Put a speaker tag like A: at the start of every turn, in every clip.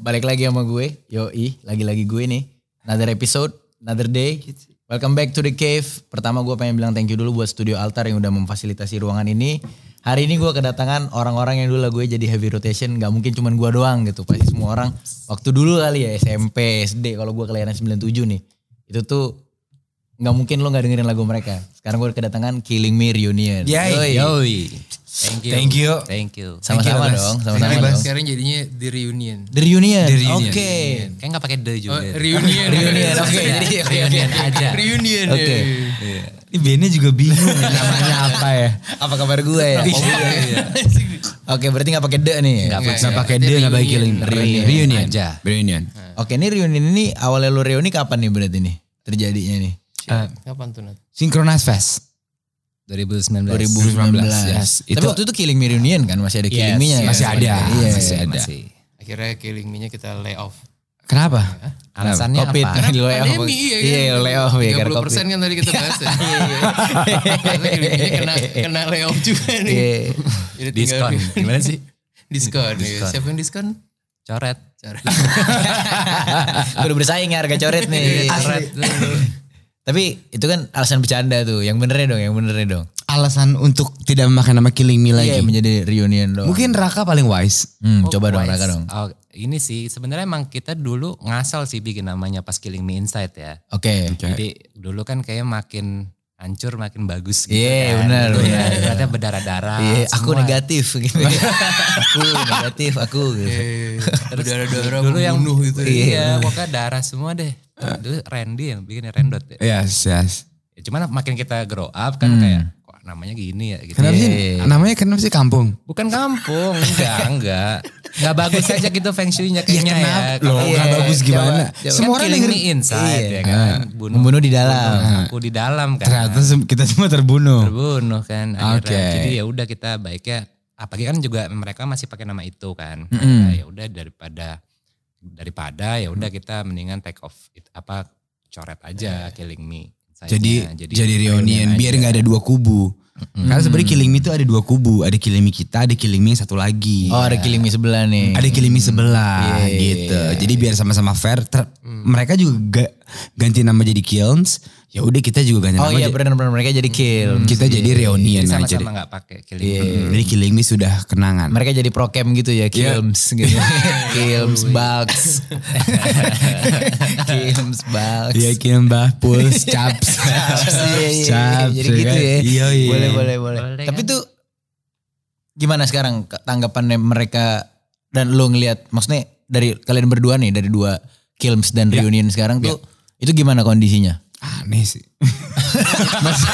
A: balik lagi sama gue, Yoi, lagi-lagi gue nih. Another episode, another day. Welcome back to the cave. Pertama gue pengen bilang thank you dulu buat Studio Altar yang udah memfasilitasi ruangan ini. Hari ini gue kedatangan orang-orang yang dulu lah gue jadi heavy rotation. Gak mungkin cuman gue doang gitu. Pasti semua orang. Waktu dulu kali ya SMP, SD. Kalau gue kelahiran 97 nih. Itu tuh nggak mungkin lo nggak dengerin lagu mereka. Sekarang gue kedatangan Killing Me Reunion. Yoi.
B: Yoi. Thank you. Thank you.
C: Thank you.
A: Sama-sama dong, sama-sama
B: Thank you,
A: dong.
B: Bas.
D: Sekarang jadinya di reunion.
A: The Reunion.
B: The Reunion.
A: Oke.
C: Kayak nggak pakai the
D: Oh,
C: juga.
D: reunion.
A: Reunion, oke. Jadi oke, oke.
C: Reunion aja.
D: Reunion.
A: Oke.
D: ya.
B: Ini bandnya juga bingung.
A: Namanya apa ya? Apa kabar gue
B: Iya.
A: ya? Oke, berarti nggak pakai the nih. ya?
B: Gak pakai dia, gak pakai killing. Reunion. Reunion.
C: Aja.
B: Reunion.
A: Oke, ini reunion ini awalnya lu reuni kapan nih berarti nih terjadinya nih?
B: Eh,
D: Kapan tuh Nat?
B: Synchronized Fest.
C: 2019.
A: 2019.
B: yes.
A: Tapi
B: Itu-
A: waktu itu killing me reunion kan masih ada killing
C: Yes,
A: me-nya kan?
B: Masih ada.
A: Iya.
B: Masih ada.
D: Akhirnya killing me-nya kita layoff.
B: Kenapa?
C: Alasannya
A: Covid
C: apa?
A: di layoff.
D: Pandemi ya kan?
A: Iya, layoff ya karena
D: 30
A: covid.
D: kan tadi kita bahas ya. Iya, iya. Karena killing me-nya kena, kena layoff juga nih.
A: Iya.
D: Jadi tinggal
C: Diskon. Gimana sih?
D: Diskon. iya. Siapa yang diskon?
C: Coret.
D: Cara.
A: Udah bersaing ya harga coret
B: Iya.
A: nih. Tapi itu kan alasan bercanda tuh. Yang benernya dong, yang benernya dong.
B: Alasan untuk tidak memakai nama killing me
A: Iya,
B: lagi.
A: menjadi reunion dong.
B: Mungkin Raka paling wise.
A: Hmm, coba dong Raka dong.
C: Oh, ini sih sebenarnya emang kita dulu ngasal sih bikin namanya pas Killing Me Inside ya.
A: Oke.
C: Jadi dulu kan kayak makin hancur makin bagus gitu
A: Iya,
C: kan.
A: benar,
C: Dulu
A: benar.
C: ya, Ada berdarah-darah.
A: Iya, aku
C: Ah, semua.
A: negatif gitu. aku negatif, aku gitu.
D: Darah-darah
C: dulu yang
D: membunuh gitu. ya.
C: Iya, pokoknya darah semua deh.
B: Ah.
C: Dulu Randy yang bikin ya, Rendot ya.
B: Yes, yes.
C: Ya, Cuman makin kita grow up kan kayak kok namanya gini ya gitu.
B: Hmm. Kenapa sih?
A: Iya.
B: Namanya kenapa sih kampung?
C: Bukan kampung, enggak, enggak. Enggak bagus aja gitu feng shui-nya kayaknya ya.
B: Iya, kenapa? Loh, enggak bagus gimana? Semua orang Iya. Ah.
C: denger
B: dengerin-
C: inside ya kan. Bunuh,
A: Iya. Ah, Membunuh di dalam. Ah.
C: bunuh
B: Ah.
C: aku di dalam kan.
B: Ternyata sem- kita semua terbunuh.
C: terbunuh kan akhirnya.
B: Oke.
C: Jadi ya udah kita baiknya apalagi kan juga mereka masih pakai nama itu kan. Nah, Ya udah daripada daripada ya udah kita mendingan take off it, apa coret aja killing me. Inside-nya.
B: Iya. Jadi jadi
C: reunion
B: reunion biar
C: aja.
B: nggak ada dua kubu. Karena sebenarnya killing me itu ada dua kubu, ada killing me kita, ada killing me yang satu lagi.
A: Oh,
C: Iya.
A: ada killing me sebelah nih.
B: ada killing me sebelah
A: Iya, Hmm.
B: gitu. Jadi biar sama-sama fair. ter- Mereka juga ga- ganti nama jadi kilns. Ya udah kita juga ganti
A: Oh
B: nama.
A: iya,
B: jadi-
A: benar-benar mereka jadi
C: Hmm.
A: Iya. kill.
B: kita jadi reunion
C: Jadi
B: aja.
C: sama-sama nggak pakai killing
A: Iya,
C: me.
B: Hmm, Jadi killing me sudah kenangan.
A: Mereka jadi prokem gitu ya,
B: Iya.
A: kilms gitu. kilms bugs. kilms bugs.
B: Iya kiln bah, puls, caps.
A: Iya, iya, iya.
B: Caps,
A: Jadi gitu
B: kan?
A: ya.
B: Iya, iya.
A: Boleh, boleh, boleh.
C: Boleh,
A: Tapi tuh gimana sekarang ke- tanggapannya mereka dan lo ngelihat maksudnya dari kalian berdua nih dari dua Kilms dan
B: Iya.
A: Reunion sekarang tuh itu gimana kondisinya?
B: Aneh sih. Mas-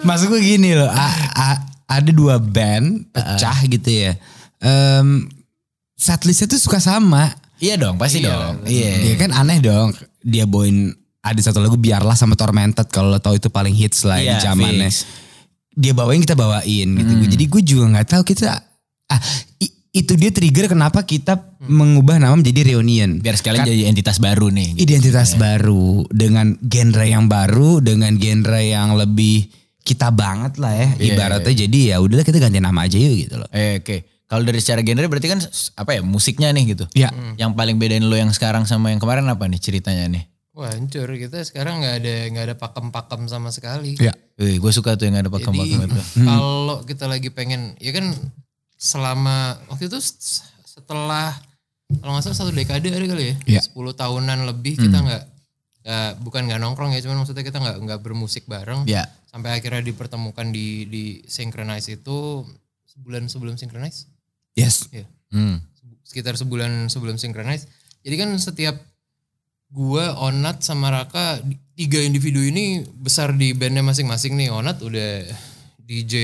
B: Maksud gue gini loh, a- a- ada dua band pecah gitu ya. Em setlistnya tuh suka sama.
A: Iya dong, pasti dong. Iya.
B: Iya kan aneh dong dia bawain ada satu lagu biarlah sama Tormented kalau lo tahu itu paling hits lah di
A: Iya,
B: zamannya.
A: fix. Hmm.
B: Dia bawain kita bawain gitu. Jadi gue juga nggak tahu kita ah i- itu dia trigger kenapa kita mengubah nama menjadi reunion.
A: Biar Iya. sekalian jadi entitas baru nih. gitu.
B: identitas baru dengan genre yang baru dengan genre yang lebih kita banget lah ya
A: Iya,
B: ibaratnya jadi ya udahlah kita ganti nama aja yuk gitu loh.
A: Eh, Oke. Kalau dari secara genre berarti kan s- apa ya musiknya nih gitu.
B: Ya.
A: Yang paling bedain lo yang sekarang sama yang kemarin apa nih ceritanya nih?
D: Wah hancur kita sekarang nggak ada nggak ada pakem-pakem sama sekali.
B: Ya.
A: gue suka tuh yang ada pakem-pakem itu.
D: kalau kita lagi pengen ya kan selama waktu itu s- setelah kalau nggak salah satu dekade ada kali
B: Iya.
D: ya sepuluh 10 tahunan lebih kita nggak nggak- bukan nggak nongkrong ya cuman maksudnya kita nggak nggak bermusik bareng
A: Ya.
D: sampai akhirnya dipertemukan di di synchronize itu sebulan sebelum synchronize
B: Yes.
A: Hmm.
D: sekitar sebulan sebelum synchronize jadi kan setiap gua Onat sama Raka di- tiga individu ini besar di bandnya masing-masing nih Onat udah DJ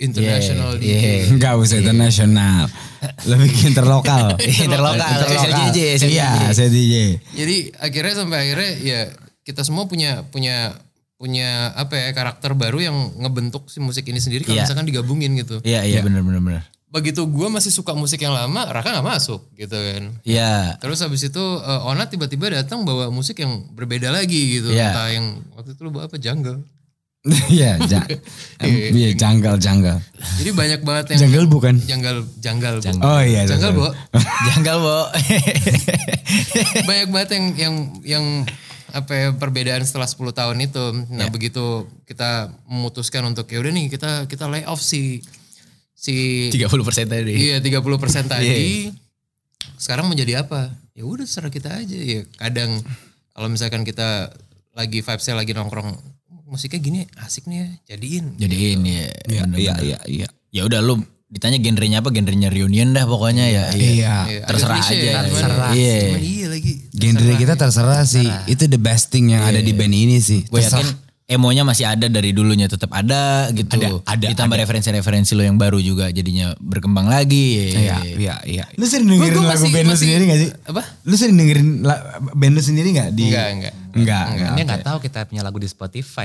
D: international
A: Yeah,
D: DJ
A: yeah.
B: Enggak usah internasional. Lebih ke interlokal.
A: Interlokal, SLJJ, SLJJ.
B: Iya, SLJJ.
D: Jadi akhirnya sampai akhirnya ya kita semua punya punya punya apa ya karakter baru yang ngebentuk si musik ini sendiri kalau
A: Iya.
D: misalkan digabungin gitu.
A: Iya, iya bener bener bener.
D: Begitu gua masih suka musik yang lama, Raka nggak masuk gitu kan.
A: Iya.
D: Terus habis itu eh, Ona tiba-tiba datang bawa musik yang berbeda lagi gitu.
A: Iya.
D: Entah yang waktu itu lu bawa apa Jungle.
B: Iya, ja- em, iya janggal janggal.
D: Jadi banyak banget yang
B: Janggal bukan?
D: janggal janggal. Bu.
B: Oh iya,
D: Janggal,
B: sorry.
D: Bo.
A: Janggal, Bo.
D: banyak banget yang yang yang apa ya, perbedaan setelah 10 tahun itu. Nah, begitu kita memutuskan untuk ya udah nih kita kita layoff si si
A: 30% tadi.
D: Iya 30 persen tadi. Sekarang menjadi apa? Ya udah serah kita aja. Ya kadang kalau misalkan kita lagi vibesnya lagi nongkrong musiknya gini asik nih ya jadiin.
A: Jadiin ya.
B: Iya,
A: bener-bener.
B: iya, iya, iya.
A: Ya udah lu ditanya genrenya apa, genrenya reunion dah pokoknya ya.
B: Iya.
D: Iya, agak
A: Terserah
D: klise
A: aja.
D: ya, cuman-
A: Terserah. Iya.
D: cuman iya lagi.
B: Genre kita terserah sih. Itu the best thing yang ada di band ini sih.
A: Gue
B: Terserah.
A: yakin emonya masih ada dari dulunya tetap ada gitu.
B: Ada, ada,
A: Ditambah referensi-referensi lo yang baru juga jadinya berkembang lagi.
B: Iya, iya, iya. Lu sering
D: Gua-
B: dengerin
D: gua
B: lagu
D: masih-
B: band lu
D: masih-
B: sendiri gak sih?
D: Apa?
B: Lu sering dengerin la- band lu sendiri gak? Di...
D: Enggak, enggak.
B: Enggak, enggak.
C: Dia nggak tahu kita punya lagu di Spotify.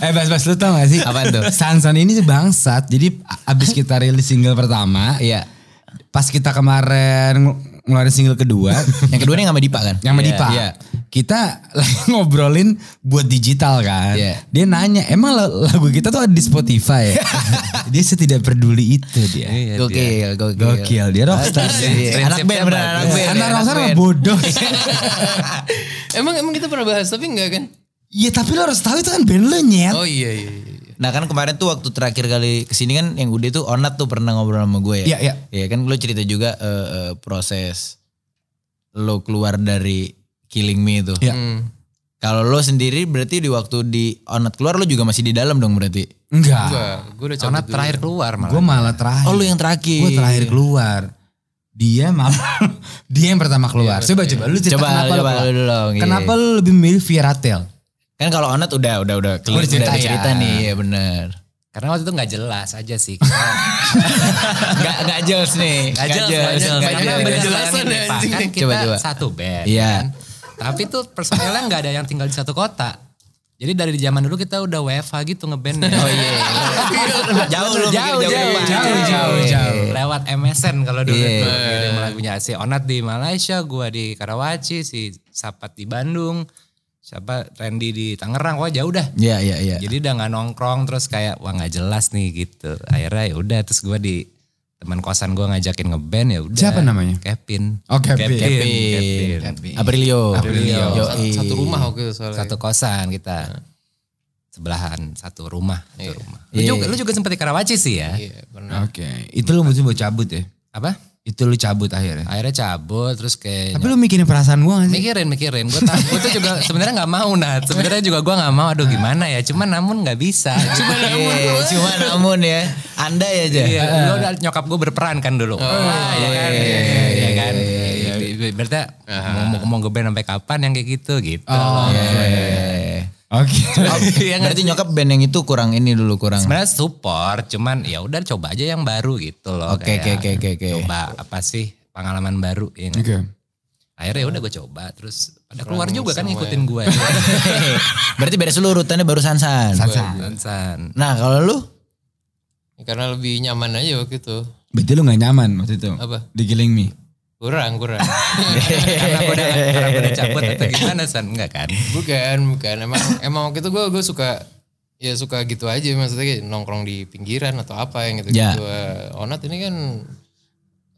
B: Eh Bas-Bas lu tau gak sih? Apa tuh? Sanson ini sih bangsat. Jadi a- abis kita rilis single pertama. Iya. Pas kita kemarin ngelu- ngeluarin single kedua.
A: Yang kedua nih sama Dipa kan?
B: yang sama
A: Iya,
B: Dipa.
A: Iya.
B: Kita lagi ngobrolin buat digital kan.
A: Iya.
B: Dia nanya, emang la- lagu kita tuh ada di Spotify ya? dia setidak peduli itu dia.
A: Gokil, Iya, gokil.
B: Iya. Gokil, dia rockstar.
A: Iya, Anak band, bener anak band.
B: Antara
A: anak
B: Rockstar sama
A: band.
B: bodoh.
D: Emang emang kita pernah bahas tapi enggak kan?
B: Iya tapi lo harus tahu itu kan band lo nyet.
D: Oh iya iya. iya.
A: Nah kan kemarin tuh waktu terakhir kali kesini kan yang Ude tuh Onat tuh pernah ngobrol sama gue ya.
B: Iya, iya.
A: kan lo cerita juga eh, eh, proses lo keluar dari Killing Me itu.
B: Iya.
D: Hmm.
A: Kalau lo sendiri berarti di waktu di Onat keluar lo juga masih di dalam dong berarti.
B: Enggak.
D: Enggak, gue udah
C: Karena
D: cabut dulu.
C: terakhir keluar malah.
B: Gue malah terakhir.
A: Oh lo yang terakhir.
B: Gue Ah, terakhir keluar. Dia malah dia yang pertama keluar. coba Iya. coba lu cerita
A: Coba, coba
B: kenapa lu keluar.
A: lu dulu, iya.
B: Kenapa lu lebih milih Fieratel?
A: Kan kalau Onat udah udah udah
B: Udah cerita
A: udah
B: ya.
A: cerita nih ya bener.
C: Karena waktu itu nggak jelas aja sih. Kita-
A: gak, gak jelas nih.
C: Gak jelas, gak jelas.
A: gak
C: Karena
A: jelas.
C: banyak
D: jelasan
C: jelasan
D: ya,
C: nih, Pak.
D: anjing.
C: Kan kita
A: Coba, coba.
C: satu band.
A: Iya.
C: kan. Tapi tuh personelnya nggak ada yang tinggal di satu kota. Jadi dari zaman dulu kita udah WFH gitu ngeband.
A: Oh iya. jauh lu
C: Jauh, jauh,
A: mikir
C: jauh,
A: depan.
C: jauh, jauh,
A: Iya.
C: jauh. Lewat MSN kalau dulu
A: Iya.
C: tuh. Kirim lagunya si Onat di Malaysia, gua di Karawaci, si Sapat di Bandung, siapa Randy di Tangerang. Wah jauh dah.
A: Iya, iya, iya.
C: Jadi udah nggak nongkrong terus kayak wah nggak jelas nih gitu. Akhirnya ya udah terus gue di teman kosan gue ngajakin ngeband ya udah.
B: Siapa namanya?
C: Kevin.
B: Oh, Kevin.
C: Kevin.
A: Kevin. Aprilio.
C: Aprilio.
D: Sat-
A: Yoi.
D: satu rumah waktu itu soalnya.
C: Satu kosan kita. Sebelahan satu rumah, satu rumah. Lu
A: Iya.
C: juga lu juga sempat di Karawaci sih ya?
D: Iya, pernah.
B: Oke. Itu lu mesti buat cabut ya.
C: Apa?
B: Itu lu cabut akhirnya.
C: Akhirnya cabut terus kayak
B: Tapi lu mikirin perasaan gue gak sih?
C: mikirin mikirin gue tahu gue tuh juga sebenarnya nggak mau nah sebenarnya juga gue nggak mau aduh gimana ya cuman namun nggak bisa cuman
A: Iya, Cuma namun ya, anda ya aja.
C: Iya, lu udah nyokap gue berperan kan dulu. Wah, iya kan. Iya, iya kan. Iya, Berarti mau mau mau ngeband sampai kapan yang kayak gitu gitu. loh.
B: Oke.
C: Iya, nggak-
A: Berarti nyokap band yang itu kurang ini dulu kurang.
C: Sebenarnya support, cuman ya udah coba aja yang baru gitu loh.
A: Oke,
C: Kayak
A: oke, oke, oke, oke.
C: Coba apa sih pengalaman baru ya nggak? Akhirnya ya udah gue coba terus pada keluar juga kan ngikutin gue.
A: Berarti beres lu urutannya baru Sansan.
C: ya. San.
A: Nah kalau lu
D: Karena lebih nyaman aja waktu itu.
B: Berarti lu gak nyaman waktu itu?
D: Apa?
B: Di Killing Me?
D: Kurang, kurang.
C: Karena gue udah, karena gua udah cabut atau gimana San? Enggak kan?
D: Bukan, bukan. Emang emang waktu itu gue gue suka ya suka gitu aja maksudnya kayak nongkrong di pinggiran atau apa yang gitu gitu.
A: Ya.
D: Eh, Onat ini kan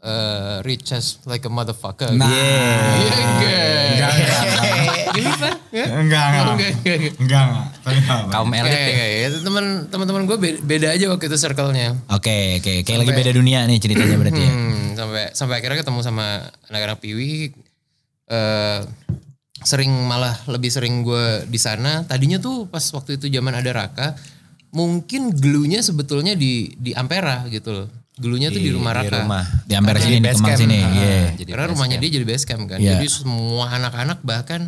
D: eh rich as like a motherfucker.
B: Nah.
D: Iya enggak.
B: Enggak, enggak. Enggak, enggak. Tapi gak apa.
C: Kaum elit
D: Kayak
C: ya.
D: kayak itu teman teman-teman gue beda, beda aja waktu itu circle-nya.
A: Oke oke kayak lagi beda dunia nih ceritanya
C: Iya.
A: berarti ya.
D: Hmm, sampai sampai akhirnya ketemu sama anak-anak Piwi eh sering malah lebih sering gue di sana. Tadinya tuh pas waktu itu zaman ada Raka, mungkin gelunya sebetulnya di di Ampera gitu loh. Gelunya tuh di rumah
C: Di
D: Raka.
C: rumah.
A: Di Ampera sini di
C: base
A: Kemang
C: camp.
A: sini.
C: Ah,
A: Iya.
C: jadi
D: Karena
C: base
D: rumahnya
C: camp.
D: dia jadi base camp kan.
A: Iya.
D: Jadi semua anak-anak bahkan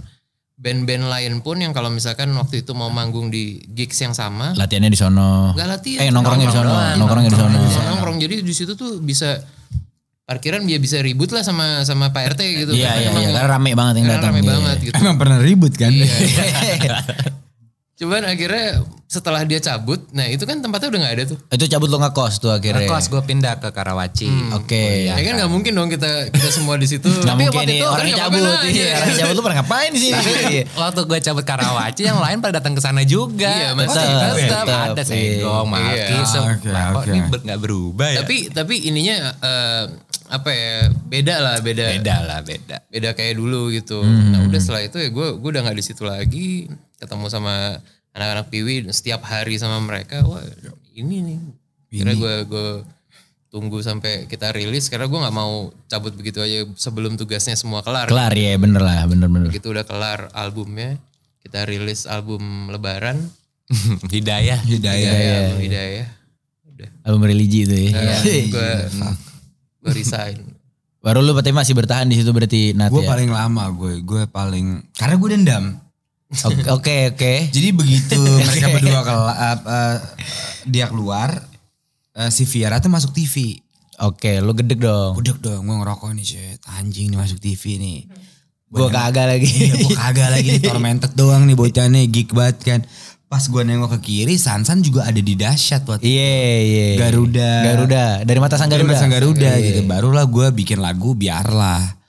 D: band-band lain pun yang kalau misalkan waktu itu mau manggung di gigs yang sama,
A: Latihannya di sono.
D: Gak latihan.
A: Eh nongkrongnya di sono, nongkrongnya di sono.
D: Bisa nongkrong jadi di situ tuh bisa parkiran dia bisa ribut lah sama sama Pak RT
A: Iya
D: gitu. Karena gitu.
A: iya iya
D: emang-
A: karena rame banget yang
D: karena
A: datang.
D: rame
A: Iya.
D: banget gitu.
B: Emang pernah ribut kan?
D: Iya. Cuman akhirnya setelah dia cabut, nah itu kan tempatnya udah nggak ada tuh.
A: Itu cabut lo ngekos tuh akhirnya.
C: Kos gue pindah ke Karawaci.
A: Oke.
D: Ya, kan nggak mungkin dong kita kita semua di situ.
A: Iya. Nggak
D: Tapi
A: mungkin
D: waktu
A: nih
D: itu
A: orang
D: nggak
A: cabut.
D: apa-apa,
A: Iya,
D: iya.
A: orang cabut lu pernah ngapain sih? Iya.
C: Waktu gue cabut Karawaci yang lain pada datang ke sana juga.
D: Iya,
C: Pasti
A: tetep,
C: tetep
A: tetep,
C: ada
A: iya.
C: senggong, maki,
D: Iya.
C: sem-
B: Ah, oke,
C: Lah, kok
B: oke.
C: ini ber- nggak berubah ya?
D: Tapi tapi ininya eh, apa ya beda lah beda.
C: beda lah beda.
D: beda kayak dulu gitu. Nah udah setelah itu ya gue gue udah nggak di situ lagi ketemu sama anak-anak Piwi setiap hari sama mereka. Wah ini nih. Kira gue gue tunggu sampai kita rilis karena gue nggak mau cabut begitu aja sebelum tugasnya semua kelar.
A: Kelar ya bener lah bener-bener.
D: Begitu udah kelar albumnya kita rilis album Lebaran.
C: Hidayah.
B: Hidayah.
D: Hidayah. album Hidayah. Udah.
A: Album religi itu ya.
D: Gue gue resign.
A: Baru lu berarti masih bertahan di situ berarti Nat
B: Gue
A: ya?
B: paling lama gue, gue paling karena gue dendam.
A: Oke oke. oke.
B: Jadi begitu mereka berdua ke eh, dia keluar, eh, si Viera tuh masuk TV.
A: Oke, lu gedek dong.
B: Udah dong, gue ngerokok nih shit. Anjing nih masuk TV nih.
A: Gue kagak lagi.
B: Iya, gue kagak lagi nih tormented doang nih bocah nih geek banget kan. Pas gue nengok ke kiri, Sansan juga ada di dahsyat waktu
A: Iya, iya.
B: Garuda.
A: Garuda. Dari mata sang Garuda.
B: Garuda. Garuda
A: Iya.
B: gitu. Barulah gue bikin lagu biarlah.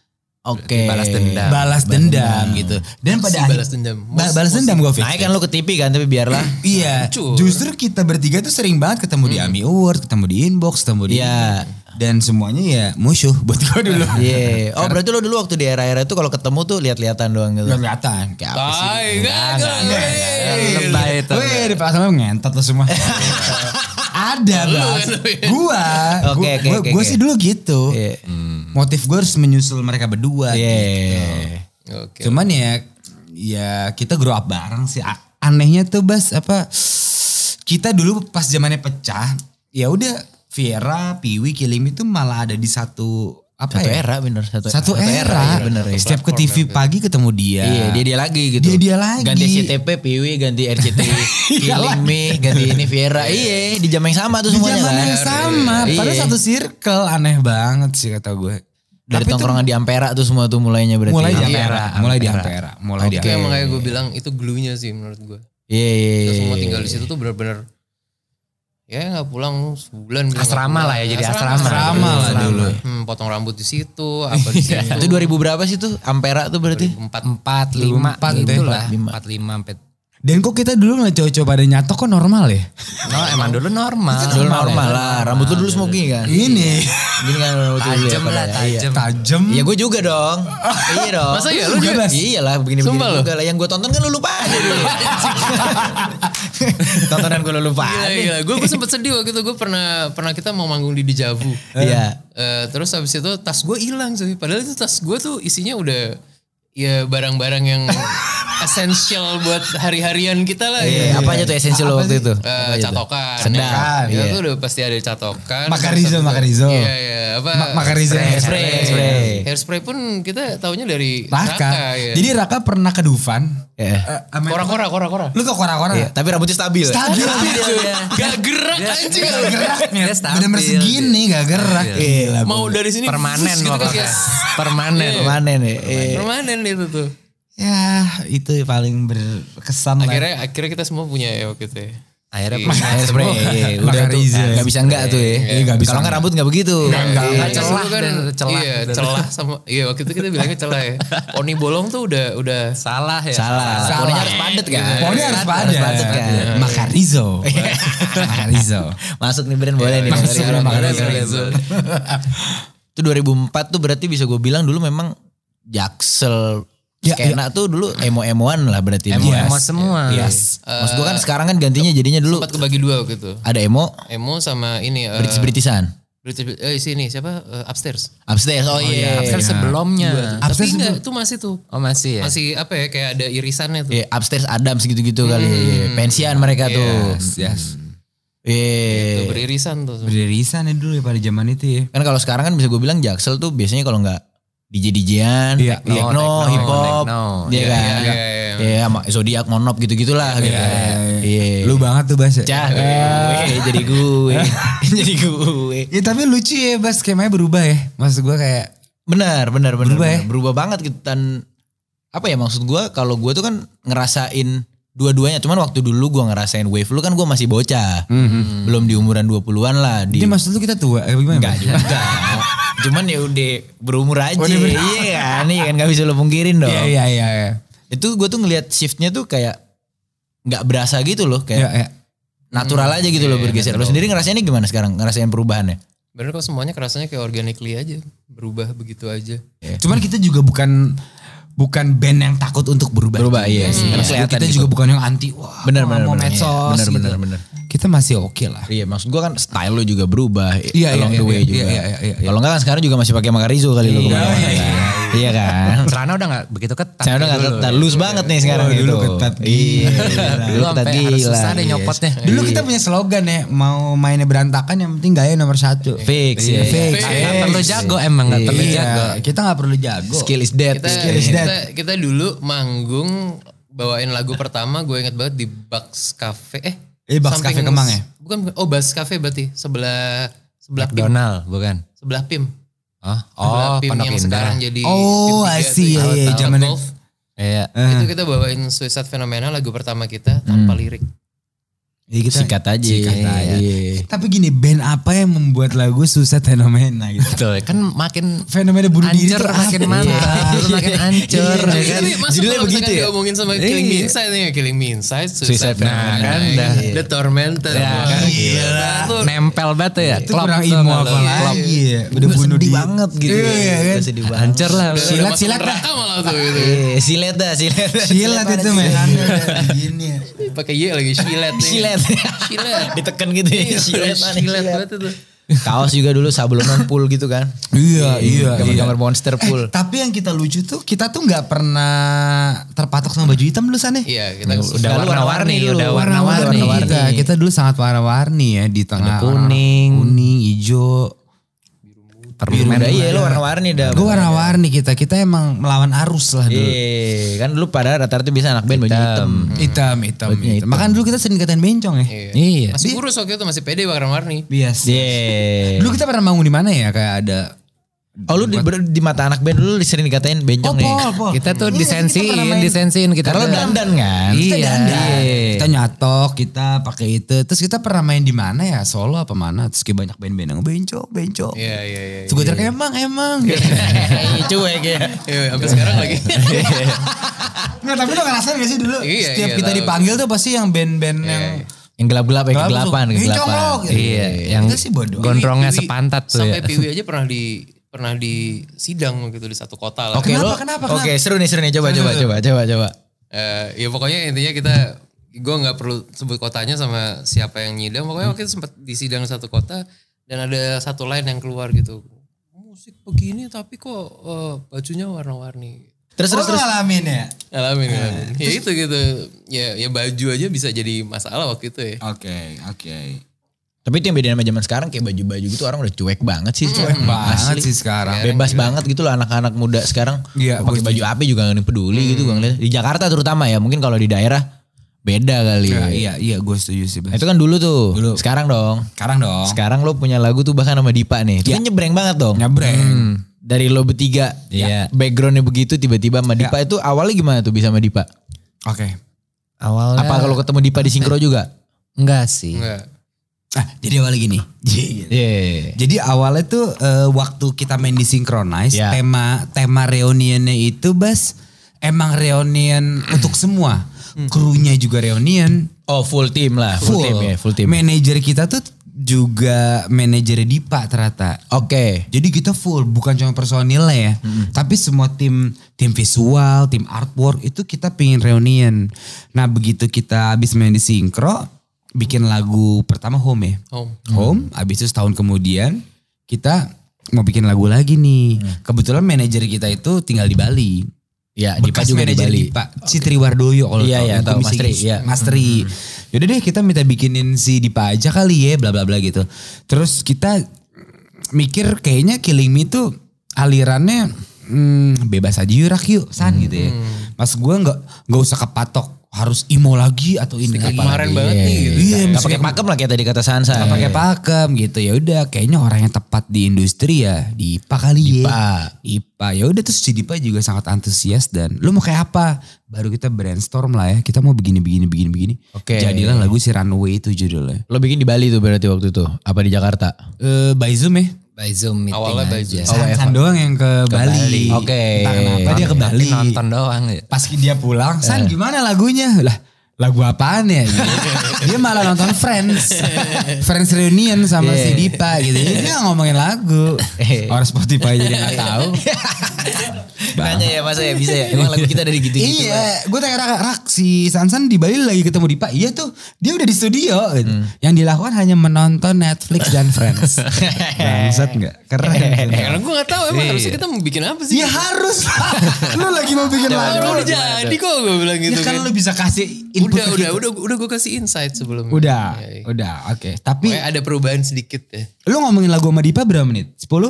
A: Oke.
C: Balas
A: Iya,
C: dendam.
B: Balas dendam gitu. Dan pada
D: Si
B: akhir-
D: balas dendam. Mos-
B: Ba- balas dendam gue
A: Naik kan lu ke TV kan tapi biarlah. Nah,
B: Iya,
D: Hancur.
B: justru kita bertiga tuh sering banget ketemu di Ami Award, ketemu di inbox, ketemu di
A: Iya.
B: dan semuanya ya musuh buat gue dulu.
A: Iya. Oh berarti lu dulu waktu di era-era itu kalau ketemu tuh lihat-lihatan doang gitu.
B: Gak kelihatan kayak apa sih?
D: Tai, enggak, enggak, enggak.
C: Lebay itu.
B: Weh, di pasar malam ngentot lo semua. Ada bas.
A: ya.
B: Gua,
A: Oke,
B: gua,
A: oke,
B: gua,
A: oke,
B: gua
A: oke.
B: sih dulu gitu.
A: Iya.
B: Motif gue harus menyusul mereka berdua. gitu. Oh.
A: Iya.
D: Oke.
B: Cuman ya ya kita grow up bareng sih. A- Anehnya tuh Bas apa kita dulu pas zamannya pecah, ya udah Viera, Piwi, Kilim itu malah ada di satu apa
A: Satu
B: ya?
A: era bener. Satu,
B: Satu,
A: iya,
B: era.
A: bener ya.
B: Setiap ke TV pagi ketemu dia.
A: Iya dia dia lagi gitu.
B: Dia dia lagi.
A: Ganti SCTP, Piwi, ganti RCTI, Killing Me, ganti ini Viera. Iya di jam yang sama tuh
B: Di
A: semuanya
B: zaman
A: kan.
B: yang sama,
A: Iya.
B: padahal satu circle aneh banget sih kata gue.
A: Dari
B: Tapi tuh
A: tongkrongan di Ampera tuh semua tuh mulainya berarti.
B: mulai di
A: Iya.
B: Ampera, mulai di Ampera, mulai di
D: Itu
B: Ampera.
D: yang makanya gue bilang itu glunya sih menurut gue.
A: Iya, iya,
D: Kita
A: iya.
D: semua tinggal di situ tuh benar-benar ya nggak pulang sebulan. dia nggak
C: Asrama
D: pulang.
C: lah ya, jadi asrama. Iya.
B: Asrama lah dulu.
D: Hmm, potong rambut di situ, apa di situ.
A: iya. Itu 2000 berapa sih tuh Ampera tuh berarti?
D: Empat.
C: Empat lima
B: Empat deh.
C: gitu
A: Empat,
C: lah.
A: lima.
C: Empat lima empat.
B: Dan kok kita dulu ngeliat cowok-cowok pada nyatok kok normal ya?
C: No emang dulu normal.
A: Ah, Dulu normal lah, rambut lu dulu semua gini kan?
B: Ini
A: Gini kan rambut lu dulu ya
C: Tajem
A: pada
C: lah
A: ya? Iya.
C: tajem.
B: tajam.
A: Iya gue juga dong. iya dong.
D: Masa iya, lu
A: Gua
D: juga?
A: bahas- Iya lah begini-begini
D: Sumpah lu?
A: juga lah. Yang gue tonton kan lu lupa aja dulu. Tontonan gue lu lupa
D: Gila,
A: aja.
D: gila. Gue gue sempet sedih waktu itu. Gue pernah pernah kita mau manggung di Dejavu.
A: Iya.
D: Eh, terus habis itu tas gue hilang sih. Padahal itu tas gue tuh isinya udah ya barang-barang yang esensial buat hari-harian kita lah.
A: Iya,
D: ya.
A: apa aja tuh esensi lo waktu itu?
D: Eh,
A: Apa aja tuh?
D: catokan.
A: Sendal,
D: Ya,
A: iya.
D: itu udah pasti ada catokan.
B: Makarizo,
D: Terus-
B: Makarizo.
D: Iya, iya. Apa?
B: Ma- Makarizo.
A: Hairspray, hairspray.
D: Hairspray pun kita taunya dari
B: Raka.
D: ya.
B: Jadi Raka pernah ke Dufan.
A: Iya.
B: Eh, sama-
D: kora-kora, kora-kora.
B: Lu ke kora-kora?
A: Iya, Tapi rambutnya stabil.
B: Stabil.
D: Gak gerak anjing.
B: Gak gerak.
C: Dia stabil. iya.
B: Bener-bener segini gak gerak.
A: Iya.
B: Gila.
D: Mau dari sini.
C: Permanen
D: gitu kan,
C: pokoknya.
D: guys.
C: Permanen.
A: Permanen ya. Iya.
D: Permanen itu tuh.
B: Ya itu paling berkesan lah.
D: Akhirnya akhirnya kita semua punya ya waktu itu. ya.
C: Akhirnya
D: Iya.
C: punya
A: Hairspray, iya, udah tuh
B: Makarizo.
A: nggak bisa enggak tuh ya.
B: Eh, Iya, nggak bisa
A: Kalau nggak
B: enggak.
A: rambut nggak begitu.
D: Iya,
C: Nggak
D: kan
C: celah
D: dulu kan,
C: dan celah.
D: Iya, celah sama iya waktu itu kita bilangnya celah ya. Poni bolong tuh udah udah
C: salah ya.
A: Salah.
B: Salah.
A: Pokoknya harus padet kan.
B: Pokoknya harus Iya.
A: Harus padet
B: pada.
A: kan. Iya.
B: Makarizo. Makarizo.
A: Masuk nih brand boleh nih.
B: Masuk
A: dengerin
B: nih,
A: orang
B: makasih.
A: dengerin. Itu 2004 tuh berarti bisa gue bilang dulu memang Jaksel
B: Ya,
A: skena tuh dulu emo-emoan lah berarti.
C: Emo
A: Iya.
C: emo semua.
B: Yes.
A: Maksud gue kan
B: Eh,
A: sekarang kan gantinya jadinya dulu
D: sempat kebagi dua waktu itu.
A: ada emo,
D: Emo sama ini eh,
B: Oh,
A: British-Britisan.
B: iya.
D: British- eh sini siapa? Eh, upstairs.
A: Upstairs, oh, iya.
C: Upstairs sebelumnya.
D: Tapi enggak, itu masih tuh.
C: Oh masih ya.
D: Masih apa ya kayak ada irisannya tuh.
A: Iya, upstairs Adams gitu-gitu kali. Iya, Pensian mereka tuh. Hmm.
B: Yes.
D: Tuh,
A: Iya.
D: beririsan tuh.
B: Berdirisan ya dulu ya pada zaman itu ya.
A: Kan kalau sekarang kan bisa gue bilang Jaksel tuh biasanya kalau nggak DJ DJan,
B: Iya,
A: techno,
C: techno,
A: hip hop,
C: techno.
A: iya kan.
D: iya,
A: Iya, sama zodiak monop gitu-gitulah gitu. Iya.
B: Eh, Lu banget tuh Bas ya.
A: Cah, gue, jadi gue. jadi gue.
B: Ya tapi lucu ya Bas skemanya berubah ya. Maksud gue kayak
A: Benar, benar, benar.
B: Berubah ya?
A: benar. Berubah banget gitu dan apa ya maksud gua kalau gua tuh kan ngerasain dua-duanya. Cuman waktu dulu gue ngerasain wave lu kan gue masih bocah.
B: Mhm.
A: Belum di umuran 20-an lah. Di,
B: Ini maksud lu kita tua? Eh, gimana?
A: Enggak juga. Cuman ya udah berumur aja. iya kan, iya kan gak bisa lo pungkirin dong.
B: Oh, Iya, iya, iya. iya.
A: Itu gue tuh ngelihat shiftnya tuh kayak nggak berasa gitu loh.
B: Iya, Hmm.
A: Kayak
B: iya.
A: natural aja gitu loh bergeser. Lo sendiri ngerasainnya gimana sekarang? Ngerasain perubahannya?
D: Bener kok semuanya kerasanya kayak organically aja. Berubah begitu aja.
B: iya. Cuman kita juga bukan bukan band yang takut untuk berubah.
A: Berubah, iya sih.
B: Maksud
A: Karena
B: gua
A: kelihatan
B: kita
A: gitu.
B: juga bukan yang anti wah
A: Benar,
B: mau-
A: benar,
B: mau
A: benar.
B: medsos
A: Iya, benar,
B: gitu.
A: benar, benar.
B: Kita masih oke lah.
A: Iya maksud gue kan style lo juga berubah.
B: Iya,
A: along
B: iya,
A: the
B: iya,
A: way
B: iya,
A: juga.
B: iya, iya, iya, iya.
A: Kalau enggak kan sekarang juga masih pakai Makarizo kali lo kemana-mana.
B: iya, iya,
A: kan. Iya kan?
C: Celana udah nggak begitu ketat.
A: Saya udah
C: kayak
A: gak
C: dulu.
A: ketat, loose banget nih sekarang
B: Wah,
A: gitu.
B: Oh, dulu ketat
A: Iya,
C: Dulu sampai harus susah deh nyopotnya.
B: Dulu kita punya slogan ya, mau mainnya berantakan yang penting gaya nomor satu.
A: Fix,
B: Iya,
A: iya, iya.
B: fix.
C: Eh, Nggak perlu jago emang nggak perlu
B: Iya,
C: jago.
B: kita nggak perlu jago.
A: Skill is dead.
D: Kita,
A: Skill
B: iya.
A: is
D: kita,
A: dead.
D: kita dulu manggung bawain lagu pertama gue inget banget di Bucks Cafe. Eh,
B: Eh, Bucks
D: samping-
B: Cafe Kemang ya?
D: Bukan, bukan. oh Bucks Cafe berarti sebelah sebelah PIM.
C: McDonald bukan?
D: Sebelah PIM.
C: Oh,
D: Sebelah
C: oh
D: PIM
C: Pondok
D: yang
C: Indah.
D: sekarang jadi
B: Oh,
D: PIM tiga
B: I
D: tuh,
B: see,
D: yang
B: iya, iya,
D: tempat
B: zaman-
D: golf.
C: Iya.
D: Itu kita bawain Suicide Phenomena lagu pertama kita tanpa lirik.
B: Jadi Iya, kita-
A: Sikat aja.
B: Sikat aja.
A: Iya.
B: Tapi gini, band apa yang membuat lagu susah fenomena gitu?
C: Betul, kan makin
B: fenomena bunuh diri
C: ancur
B: tuh apa?
C: makin mantap,
B: Iya.
C: makin ancur
B: Iya,
C: ya
D: Tapi-
C: kan.
D: tapi masuk
A: Judulnya
D: kalau misalkan
A: begitu ya?
D: diomongin sama Killing Me Inside nih, ya, Killing Me Inside,
A: Suicide
D: Suicide,
A: Phenomena.
D: Phenomena,
C: Iya. Nah, kan
D: iya.
C: dah.
D: The Tormented.
C: Ya,
D: Wah,
C: kan?
D: gila. Tuh,
C: Nempel banget tuh ya.
B: Itu
C: klop
B: kurang
C: tuh
B: ilmu
C: sama
B: apa
C: lo.
B: lagi ya? Udah
A: Udah
B: bunuh
A: sedih
B: diri.
A: banget gitu.
B: Iya, iya, kan?
A: Udah sedih banget.
C: Hancur lah.
D: udah- udah
B: Silat,
D: masuk
B: silat dah.
D: neraka malah tuh gitu.
A: Iya, Silet dah, silet.
B: Silat itu mainannya udah gini ya.
D: Pakai Y lagi silet nih.
A: Silet.
D: Silet.
A: Diteken gitu ya.
D: Iya,
A: Silet.
D: Silet banget itu.
A: Kaos juga dulu sablonan pool gitu kan.
B: Iya, iya,
A: Gambar-gambar monster pool.
B: Tapi yang kita lucu tuh kita tuh nggak pernah terpatok sama baju hitam dulu sana.
D: Iya, kita
C: Udah
A: Lalu
C: warna-warni,
A: warna-warni
C: udah
A: dulu.
C: warna-warni.
B: warna-warni
A: warna-warni.
B: kita. Kita dulu sangat warna-warni ya di tengah
C: Ada
B: orang-orang
C: kuning.
B: kuning, hijau.
C: Permen.
A: Udah iya lu warna-warni dah.
B: Gue warna-warni kita. Kita emang melawan arus lah dulu.
A: Iya, kan lu pada rata-rata bisa anak band baju hitam.
B: Hitam, hitam,
A: Bajunya
B: hitam. Makanya dulu kita sering katain bencong ya.
C: Iya.
D: masih kurus waktu itu masih pede warna-warni.
B: Biasa.
A: Iya.
B: Dulu kita pernah bangun di mana ya? Kayak ada
A: Oh lu di, ber- di mata anak band dulu sering dikatain bencong nih.
C: Kita
B: Iya,
C: tuh
B: kita pernah
C: disensiin,
B: main-
C: disensiin kita.
A: Karena lu
C: tuh.
A: dandan kan?
B: Kita
C: Iya.
B: dandan. Kita nyatok, kita pakai itu. Terus kita pernah main di mana ya? Solo apa mana? Terus kayak banyak band-band yang bencok, bencok.
D: Iya, iya, iya.
B: Terus gue teriak, emang, emang.
A: Iya, cuek ya.
D: Iya, sampai sekarang lagi.
B: Nggak, tapi lo ngerasain gak sih dulu?
D: Iya,
B: Setiap
D: iya,
B: kita
D: tahu.
B: dipanggil tuh pasti yang band-band yang...
A: Yang gelap-gelap ya, kegelapan,
B: Gelap,
A: kegelapan.
B: bencong lo, gitu.
C: Iya, yang
B: Enggak sih bodoh.
C: gondrongnya
D: Piwi-
C: sepantat tuh
D: Sampai
C: ya.
D: Piwi aja pernah di pernah di sidang gitu di satu kota lah.
A: Oke, lo.
B: Kenapa, kenapa,
A: Oke, seru nih, seru nih. Coba, coba, coba, coba, coba.
D: Eh, ya pokoknya intinya kita gue nggak perlu sebut kotanya sama siapa yang nyidang pokoknya waktu itu sempat di sidang satu kota dan ada satu line yang keluar gitu musik begini tapi kok eh, bajunya warna-warni
A: Terus, terus,
B: Terus,
A: terus.
B: ngalamin ya?
D: alamin alamin ya itu gitu ya ya baju aja bisa jadi masalah waktu itu ya
B: Oke, oke.
A: Tapi itu yang beda sama zaman sekarang kayak baju-baju gitu orang udah cuek banget
B: Hmm.
A: sih. Cuek
B: Banget sih sekarang.
A: Bebas banget gitu loh anak-anak muda sekarang.
B: kan? Iya, Hmm.
A: pakai
B: gua
A: baju apa juga gak ada yang peduli gitu gue ngeliat. Di Jakarta terutama ya, mungkin kalau di daerah beda kali.
B: Iya, iya, Oh. iya gue setuju sih. Bas.
A: Itu kan dulu tuh. Sekarang dong.
B: Sekarang dong.
A: Sekarang lo punya lagu tuh bahkan sama Dipa nih.
B: Iya.
A: Itu kan nyebreng banget dong.
B: Nyabreng.
A: Hmm, Dari lo bertiga. ya,
C: Iya.
A: Backgroundnya begitu tiba-tiba
B: Iya.
A: sama Dipa itu awalnya gimana tuh bisa sama Dipa?
B: Oke.
C: Awalnya
A: Apa kalau ketemu Dipa di Singkro juga?
C: enggak sih?
D: enggak
B: Ah, jadi awalnya gini.
A: Iya.
B: Jadi awalnya tuh eh, waktu kita main di Synchronize,
A: Ya.
B: tema tema reuniannya itu Bas emang reunian untuk semua. Krunya juga reunian,
A: Oh full team lah. Hmm. Full,
B: full.
A: team ya, full team.
B: Manajer kita tuh juga manajer Dipa ternyata.
A: Oke.
B: Jadi kita full, bukan cuma personilnya ya, tapi semua tim tim visual, tim artwork itu kita pingin reunian. Nah begitu kita habis main di Syncro, bikin lagu pertama Home ya.
D: oh
B: Home, habis itu setahun kemudian kita mau bikin lagu lagi nih. Kebetulan manajer kita itu tinggal di Bali.
A: Ya Dipa
B: Bekas
A: juga di
B: manajer
A: Bali.
B: Dipa, Citri Wardoyo kalau
A: Iya,
B: tahu,
A: iya,
B: yang
A: tahu,
B: komisi
A: Mas Tri,
B: gigs.
A: iya. Mm-hmm.
B: Mas Tri. Yaudah deh kita minta bikinin si Dipa aja kali ya, bla bla bla gitu. Terus kita mikir kayaknya Killing Me tuh
A: Mm-hmm.
B: alirannya hmm, bebas aja yuk Rak, yuk san gitu ya. Mas gue nggak nggak usah kepatok harus imo lagi atau ini
D: Sedikit
B: lagi.
D: kemarin banget nih gitu.
B: Iya,
A: Gak pakai pakem lah kayak tadi kata Sansa. Iya.
B: Gak pakai pakem gitu. Ya udah kayaknya orang yang tepat di industri ya di IPA kali ya.
A: IPA.
B: IPA. Ya udah terus si Dipa juga sangat antusias dan lu mau kayak apa? Baru kita brainstorm lah ya. Kita mau begini begini begini begini.
A: Oke.
B: Jadilah lagu si Runway itu judulnya.
A: Lo bikin di Bali tuh berarti waktu itu? Apa di Jakarta?
B: Eh by Zoom ya.
C: By Zoom meeting
D: Awalnya by Zoom.
C: aja.
A: Oh, Evan.
B: Sansan Iya, doang yang ke, Bali.
C: Bali.
A: Oke.
B: Iya, Entah kenapa dia ke
C: Tapi
B: Bali.
C: nonton doang ya.
B: Pas dia pulang, San gimana lagunya? Lah lagu apaan ya? Gitu. dia malah nonton Friends. Friends Reunion sama si Dipa gitu. Jadi dia nggak ngomongin lagu. Orang Spotify jadi gak tahu.
A: Nanya ya masa ya bisa ya? Emang lagu kita dari gitu-gitu.
B: iya, gue tanya Rak, Rak, si Sansan di Bali lagi ketemu Dipa. Iya tuh, dia udah di studio. gitu.
D: Hmm.
B: Yang dilakukan hanya menonton Netflix dan Friends. Bangsat gak? Keren.
D: Karena gue gak Ya, tahu emang harusnya kita mau bikin apa sih.
B: Ya harus lah. Lu lagi mau bikin lagu.
D: Orang udah jadi kok gue bilang
B: Ya
D: gitu
B: kan
D: kan.
B: lu bisa kasih input
D: Udah,
B: ke
D: udah,
B: kita.
D: udah, udah gue kasih insight sebelumnya.
B: Udah,
D: Ya, ya.
B: udah, oke. Tapi
D: Pokoknya ada perubahan sedikit ya.
B: lu ngomongin lagu sama Dipa berapa menit? 10?
D: Eh,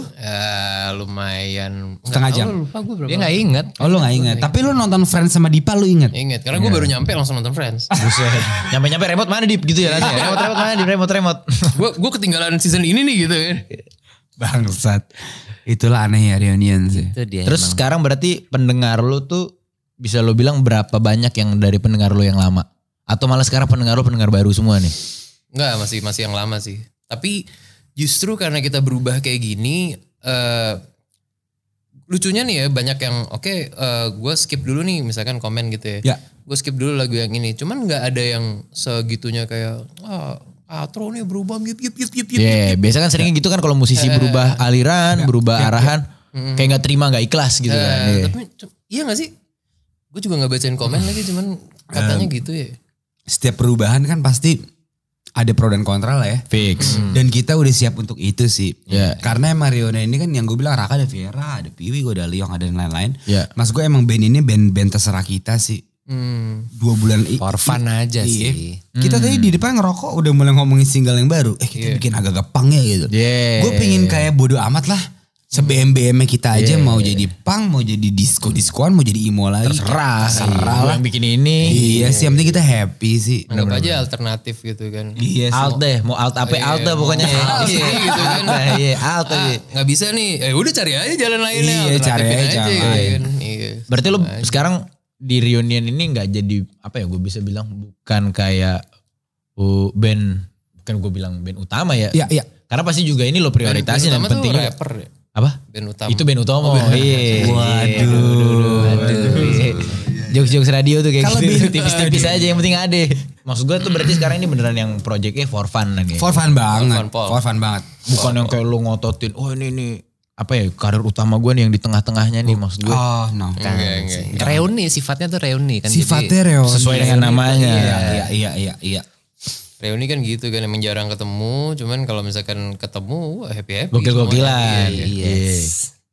D: lumayan. Nggak
B: Setengah
D: tahu,
B: jam.
D: Lupa gue berapa.
C: Dia nggak inget.
B: Oh lu gak inget. Tapi lu nonton Friends sama Dipa lu inget?
D: Ingat, karena
B: Iya.
D: gue baru nyampe langsung nonton Friends.
A: Nyampe-nyampe remote mana Dip gitu ya nanya. Remote-remote mana Dip? Remote-remote.
D: gue gue ketinggalan season ini nih gitu kan.
B: Bangsat. Itulah aneh ya reunion sih.
C: Itu dia.
A: Terus
C: emang.
A: sekarang berarti pendengar lu tuh bisa lo bilang berapa banyak yang dari pendengar lu yang lama? Atau malah sekarang pendengar lu pendengar baru semua nih?
D: Enggak, masih masih yang lama sih. Tapi justru karena kita berubah kayak gini eh lucunya nih ya banyak yang oke gue skip dulu nih misalkan komen gitu ya.
B: Ya.
D: Gue skip dulu lagu yang ini. Cuman nggak ada yang segitunya kayak ah outro nih berubah gitu, git git git git. git.
A: Iya, biasa kan seringnya gitu kan kalau musisi
D: Eh.
A: berubah aliran, berubah arahan, kayak nggak terima, nggak ikhlas gitu kan.
D: Eh,
A: Iya.
D: tapi cu- iya gak sih? Gue juga nggak bacain komen
B: Hmm.
D: lagi cuman katanya gitu ya.
B: Setiap perubahan kan pasti ada pro dan kontra lah ya.
A: Fix.
D: Hmm.
B: Dan kita udah siap untuk itu sih.
A: Iya.
B: Karena emang reunion ini kan yang gue bilang Raka ada Viera, ada Piwi, gue ada Liong, ada yang lain-lain.
A: Iya.
B: Mas gue emang band ini band-band terserah kita sih.
D: Hmm.
B: Dua bulan i-
C: for fun
B: Iya.
C: aja sih.
B: Kita tadi di depan ngerokok udah mulai ngomongin single yang baru. Eh kita bikin agak-agak punk ya gitu.
A: Yeah.
B: Gue pengen kayak bodo amat lah. Sebem-bemnya kita aja mau jadi punk, mau jadi disco-discoan, mau jadi emo lagi.
A: gitu. Terserah.
B: Terserah
A: Lu
B: lah.
A: yang bikin ini.
B: Iya sih, yang penting kita happy sih.
D: Anggap aja alternatif gitu kan.
B: Iya sih.
A: Alt deh, mau alt apa alt dah pokoknya. ya.
D: Alt sih, gitu kan.
A: Alt, Iya, alt aja.
D: nggak bisa nih eh udah cari aja jalan lainnya
B: Iya, cari aja
D: alternatifin
B: jalan
D: gitu
B: lain.
D: kan. iya
A: Berarti lu sekarang di reunion ini nggak jadi apa ya? Gue bisa bilang bukan kayak uh, band, bukan gue bilang band utama ya.
B: Iya, iya.
A: Karena pasti juga ini lo prioritasin dan
D: Band utama tuh
A: penting juga.
D: rapper ya?
A: Apa?
D: band utama
A: Itu band utama. Oh, iya. Waduh. Waduh. Jokes-jokes radio tuh kayak
B: Kalau
A: gitu.
B: band-
A: Tipis-tipis aja yang penting ada. Maksud gue tuh berarti sekarang ini beneran yang projectnya for fun kan ya? lagi.
B: For fun banget.
D: fun, Paul.
B: For fun banget.
A: Bukan yang kayak lu ngototin, oh ini nih apa ya karir utama gue nih yang di tengah-tengahnya nih maksud gue.
B: Oh no.
D: enggak enggak
C: Reuni sifatnya tuh reuni kan.
B: Sifatnya reuni.
A: Sesuai dengan namanya.
B: Iya, iya, iya, iya. iya.
D: reuni kan gitu kan emang jarang ketemu cuman kalau misalkan ketemu wah happy happy semuanya.
A: Gokil-gokilan.
D: Iya, iya.
A: Iya.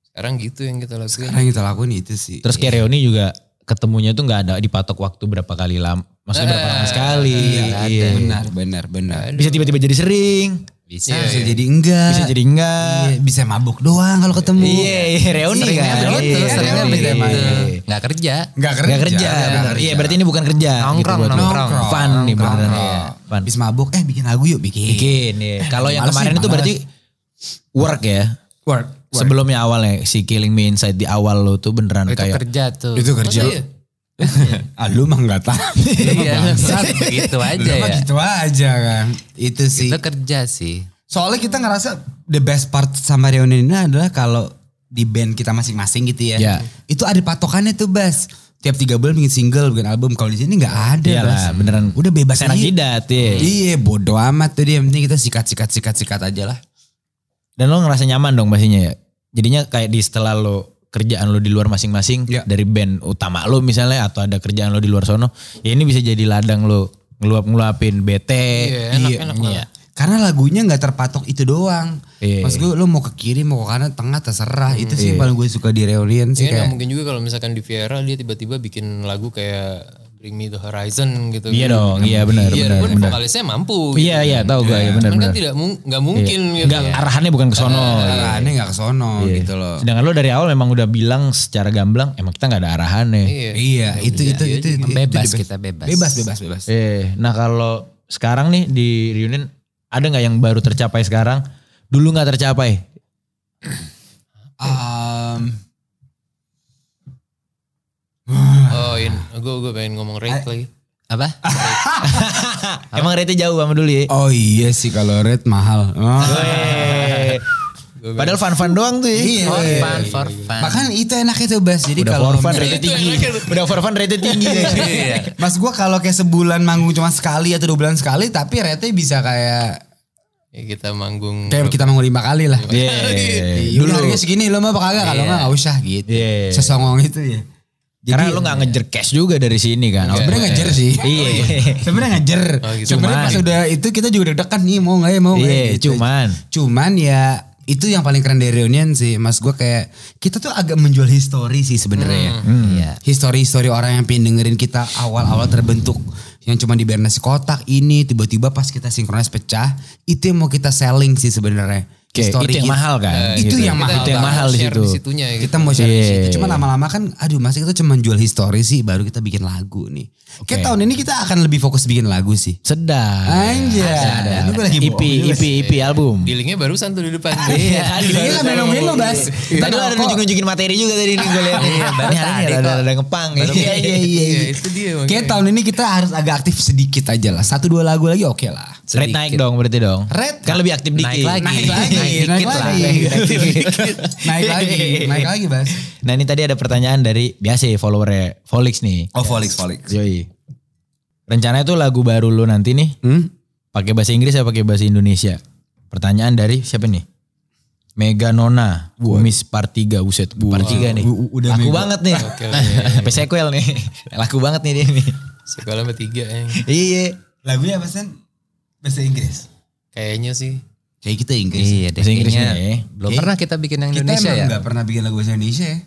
D: sekarang gitu yang kita lakukan
B: Karena yang kita lakuin itu sih.
A: Terus kayak reuni juga ketemunya tuh nggak ada dipatok waktu berapa kali lama. Maksudnya berapa lama sekali. Eh, Iya.
B: Benar, benar, benar.
A: Bisa tiba-tiba jadi sering.
C: Bisa.
B: Bisa, jadi enggak.
A: Bisa jadi enggak.
B: Iya, bisa mabuk doang kalau ketemu.
A: Eh. Iya, iya, reuni
B: Seringnya
A: kan.
B: begitu,
A: Iya,
B: seringnya
A: reuni.
B: begitu emang.
A: Iya.
C: Nggak kerja.
B: Enggak kerja.
A: Gak kerja,
B: Nggak
A: benar.
B: kerja.
A: Iya berarti ini bukan kerja.
C: Nongkrong,
A: buat lo.
C: nongkrong.
A: Fun nih beneran.
B: Nongkrong.
A: Iya, Fun.
B: Habis mabuk, eh bikin lagu yuk, bikin.
A: Bikin, iya. Kalau yang
B: Males sih,
A: kemarin itu
B: males.
A: berarti work ya.
B: Work. work.
A: Sebelumnya awalnya si Killing Me Inside di awal lo tuh beneran
C: Itu
A: kayak
C: kerja tuh.
B: itu kerja.
D: Masa iya?
B: ah, lu mah enggak tahu. Lu mah
C: Iya,
B: bangsat.
C: gitu aja
B: Lu mah
C: ya.
B: gitu aja kan. Itu sih.
C: Itu kerja sih.
B: Soalnya kita ngerasa the best part sama reunion ini adalah kalau di band kita masing-masing gitu ya.
A: Iya.
B: Itu ada patokannya tuh Bas. Tiap tiga bulan bikin single, bikin album. Kalau di sini nggak ada
A: Iyalah,
B: Bas.
A: beneran.
B: Udah bebas
A: Senang
B: aja.
A: jidat iya.
B: Iya bodo amat tuh dia. Yang penting kita sikat-sikat-sikat-sikat aja lah.
A: Dan lo ngerasa nyaman dong pastinya ya. Jadinya kayak di setelah lo kerjaan lo di luar masing-masing
B: Iya.
A: dari band utama lo misalnya atau ada kerjaan lo di luar sono, ya ini bisa jadi ladang lo ngeluap-ngeluapin bete.
D: Iya, enak, enak
A: iya.
B: Karena lagunya nggak terpatok itu doang.
A: Iya.
B: Mas gue lo mau ke kiri mau ke kanan tengah terserah. Itu sih yang paling gue suka di reunion sih
D: Iya, nggak
B: kayak.
D: mungkin juga kalau misalkan di Viera dia tiba-tiba bikin lagu kayak Bring Me The Horizon gitu.
A: Iya dong, iya benar, benar,
D: Biarpun
A: benar.
D: vokalisnya mampu. gitu.
A: Iya iya tahu gue ya benar benar.
D: Cuman
A: Iya.
D: kan tidak mung- nggak mungkin gitu.
A: Enggak arahannya bukan ke sono. Iya.
B: Arahannya nggak kesono gitu loh.
A: Sedangkan lo dari awal memang udah bilang secara gamblang emang kita nggak ada arahannya.
D: Iya.
B: Iya, itu itu itu, itu, itu
C: Bebas
B: di-
C: kita bebas.
B: Bebas bebas bebas.
A: Eh, nah kalau sekarang nih di reunion ada nggak yang baru tercapai sekarang? Dulu nggak tercapai.
B: Um,
D: Oh, gue gue pengen ngomong rate lagi.
C: Apa?
A: Emang rate jauh sama dulu ya.
B: oh iya sih kalau red mahal. Ah.
A: Eh, Padahal fan-fan doang tuh ya.
C: For fun, for fun.
B: Bahkan itu enaknya tuh Bas. Iya. Jadi
A: Udah
B: kalau
A: for fun
B: misalnya-
A: rate tinggi. Udah for fun rate tinggi.
B: Iya.
A: ya.
B: Mas gua kalau kayak sebulan manggung cuma sekali atau dua bulan sekali tapi rate bisa kayak
D: Ya, kita manggung.
B: kayak kita manggung lima kali lah.
A: Iya.
B: Iya, Dulu harganya segini lo mau apa kagak kalau nggak nggak usah gitu.
A: Iya.
B: Sesongong itu ya.
A: Karena lo nggak ngejer cash juga dari sini kan.
B: Sebenarnya ngejer sih.
A: Iya.
B: Sebenarnya ngejer.
D: gitu.
B: Sebenarnya pas
A: Cuman.
B: udah itu kita juga deg-degan nih mau nggak ya mau nggak ya,
A: Iya,
B: gitu.
A: cuman.
B: Cuman ya itu yang paling keren dari reunion sih. Mas gua kayak kita tuh agak menjual histori sih sebenarnya. ya.
A: Hmm.
C: Iya.
B: Histori-histori orang yang pengen dengerin kita awal-awal terbentuk yang cuma di Bernas kotak ini tiba-tiba pas kita sinkronis pecah itu yang mau kita selling sih sebenarnya.
A: Oke,
B: Histori
A: itu yang
B: kita.
A: mahal kan.
B: itu
A: Gitu.
B: yang
A: Kita
B: mahal.
A: Itu yang
D: bakal
A: mahal di
D: share
A: situ.
D: situnya ya, gitu.
B: Kita mau share di
A: Iya.
B: situ. Cuma lama-lama kan aduh masih kita cuma jual histori sih baru kita bikin lagu nih. Kayak tahun ini kita akan lebih fokus bikin lagu sih.
A: Sedap.
B: Anjay. Lu gue lagi
A: IP,
B: bohong juga
A: IP, IP album.
D: Dealingnya barusan tuh di depan.
A: Iya, tadi
B: Iya,
A: barusan.
B: melo-melo, Bas.
A: Iya. Tadi lu ada
B: Kok-
A: nunjuk-nunjukin materi juga tadi nih gue lihat. Iya,
C: baru tadi
A: ada
C: kok.
A: ada ngepang. ya.
B: Iya iya iya.
D: Iya,
B: iya.
D: itu dia.
B: Kayak
D: makanya.
B: tahun ini kita harus agak aktif sedikit aja lah. Satu dua lagu lagi oke lah.
A: Red naik dong berarti dong.
B: gitu. Red
A: kan lebih aktif
C: naik
A: dikit.
C: lagi.
B: Naik lagi,
C: Naik
B: naik,
C: dikit
B: lagi,
C: lah.
B: naik lagi, naik lagi, Bas.
A: Nah ini tadi ada pertanyaan dari biasa ya followernya Volix nih.
B: Oh, Volix, Volix.
A: Yoi. Rencananya tuh lagu baru lu nanti nih
B: Hmm?
A: pakai bahasa Inggris atau pakai bahasa Indonesia? Pertanyaan dari siapa nih? Mega Nona, Umis Part 3, buset Part 3 nih.
B: U- u- udah
A: Laku
B: mega.
A: banget nih.
D: Oke, oke.
A: Sampai sequel nih. Laku banget nih dia nih.
D: Sekolah sama tiga ya.
A: Iya.
B: Lagunya apa Sen? Bahasa Inggris.
D: Kayaknya sih.
B: Kayak kita Inggris.
C: Iya, deh,
A: Bahasa Inggrisnya
C: kayaknya
A: ya.
C: Belum
B: Oke.
C: pernah kita bikin yang
B: Kita
C: Indonesia
B: emang
C: ya.
B: nggak pernah bikin lagu bahasa Indonesia ya.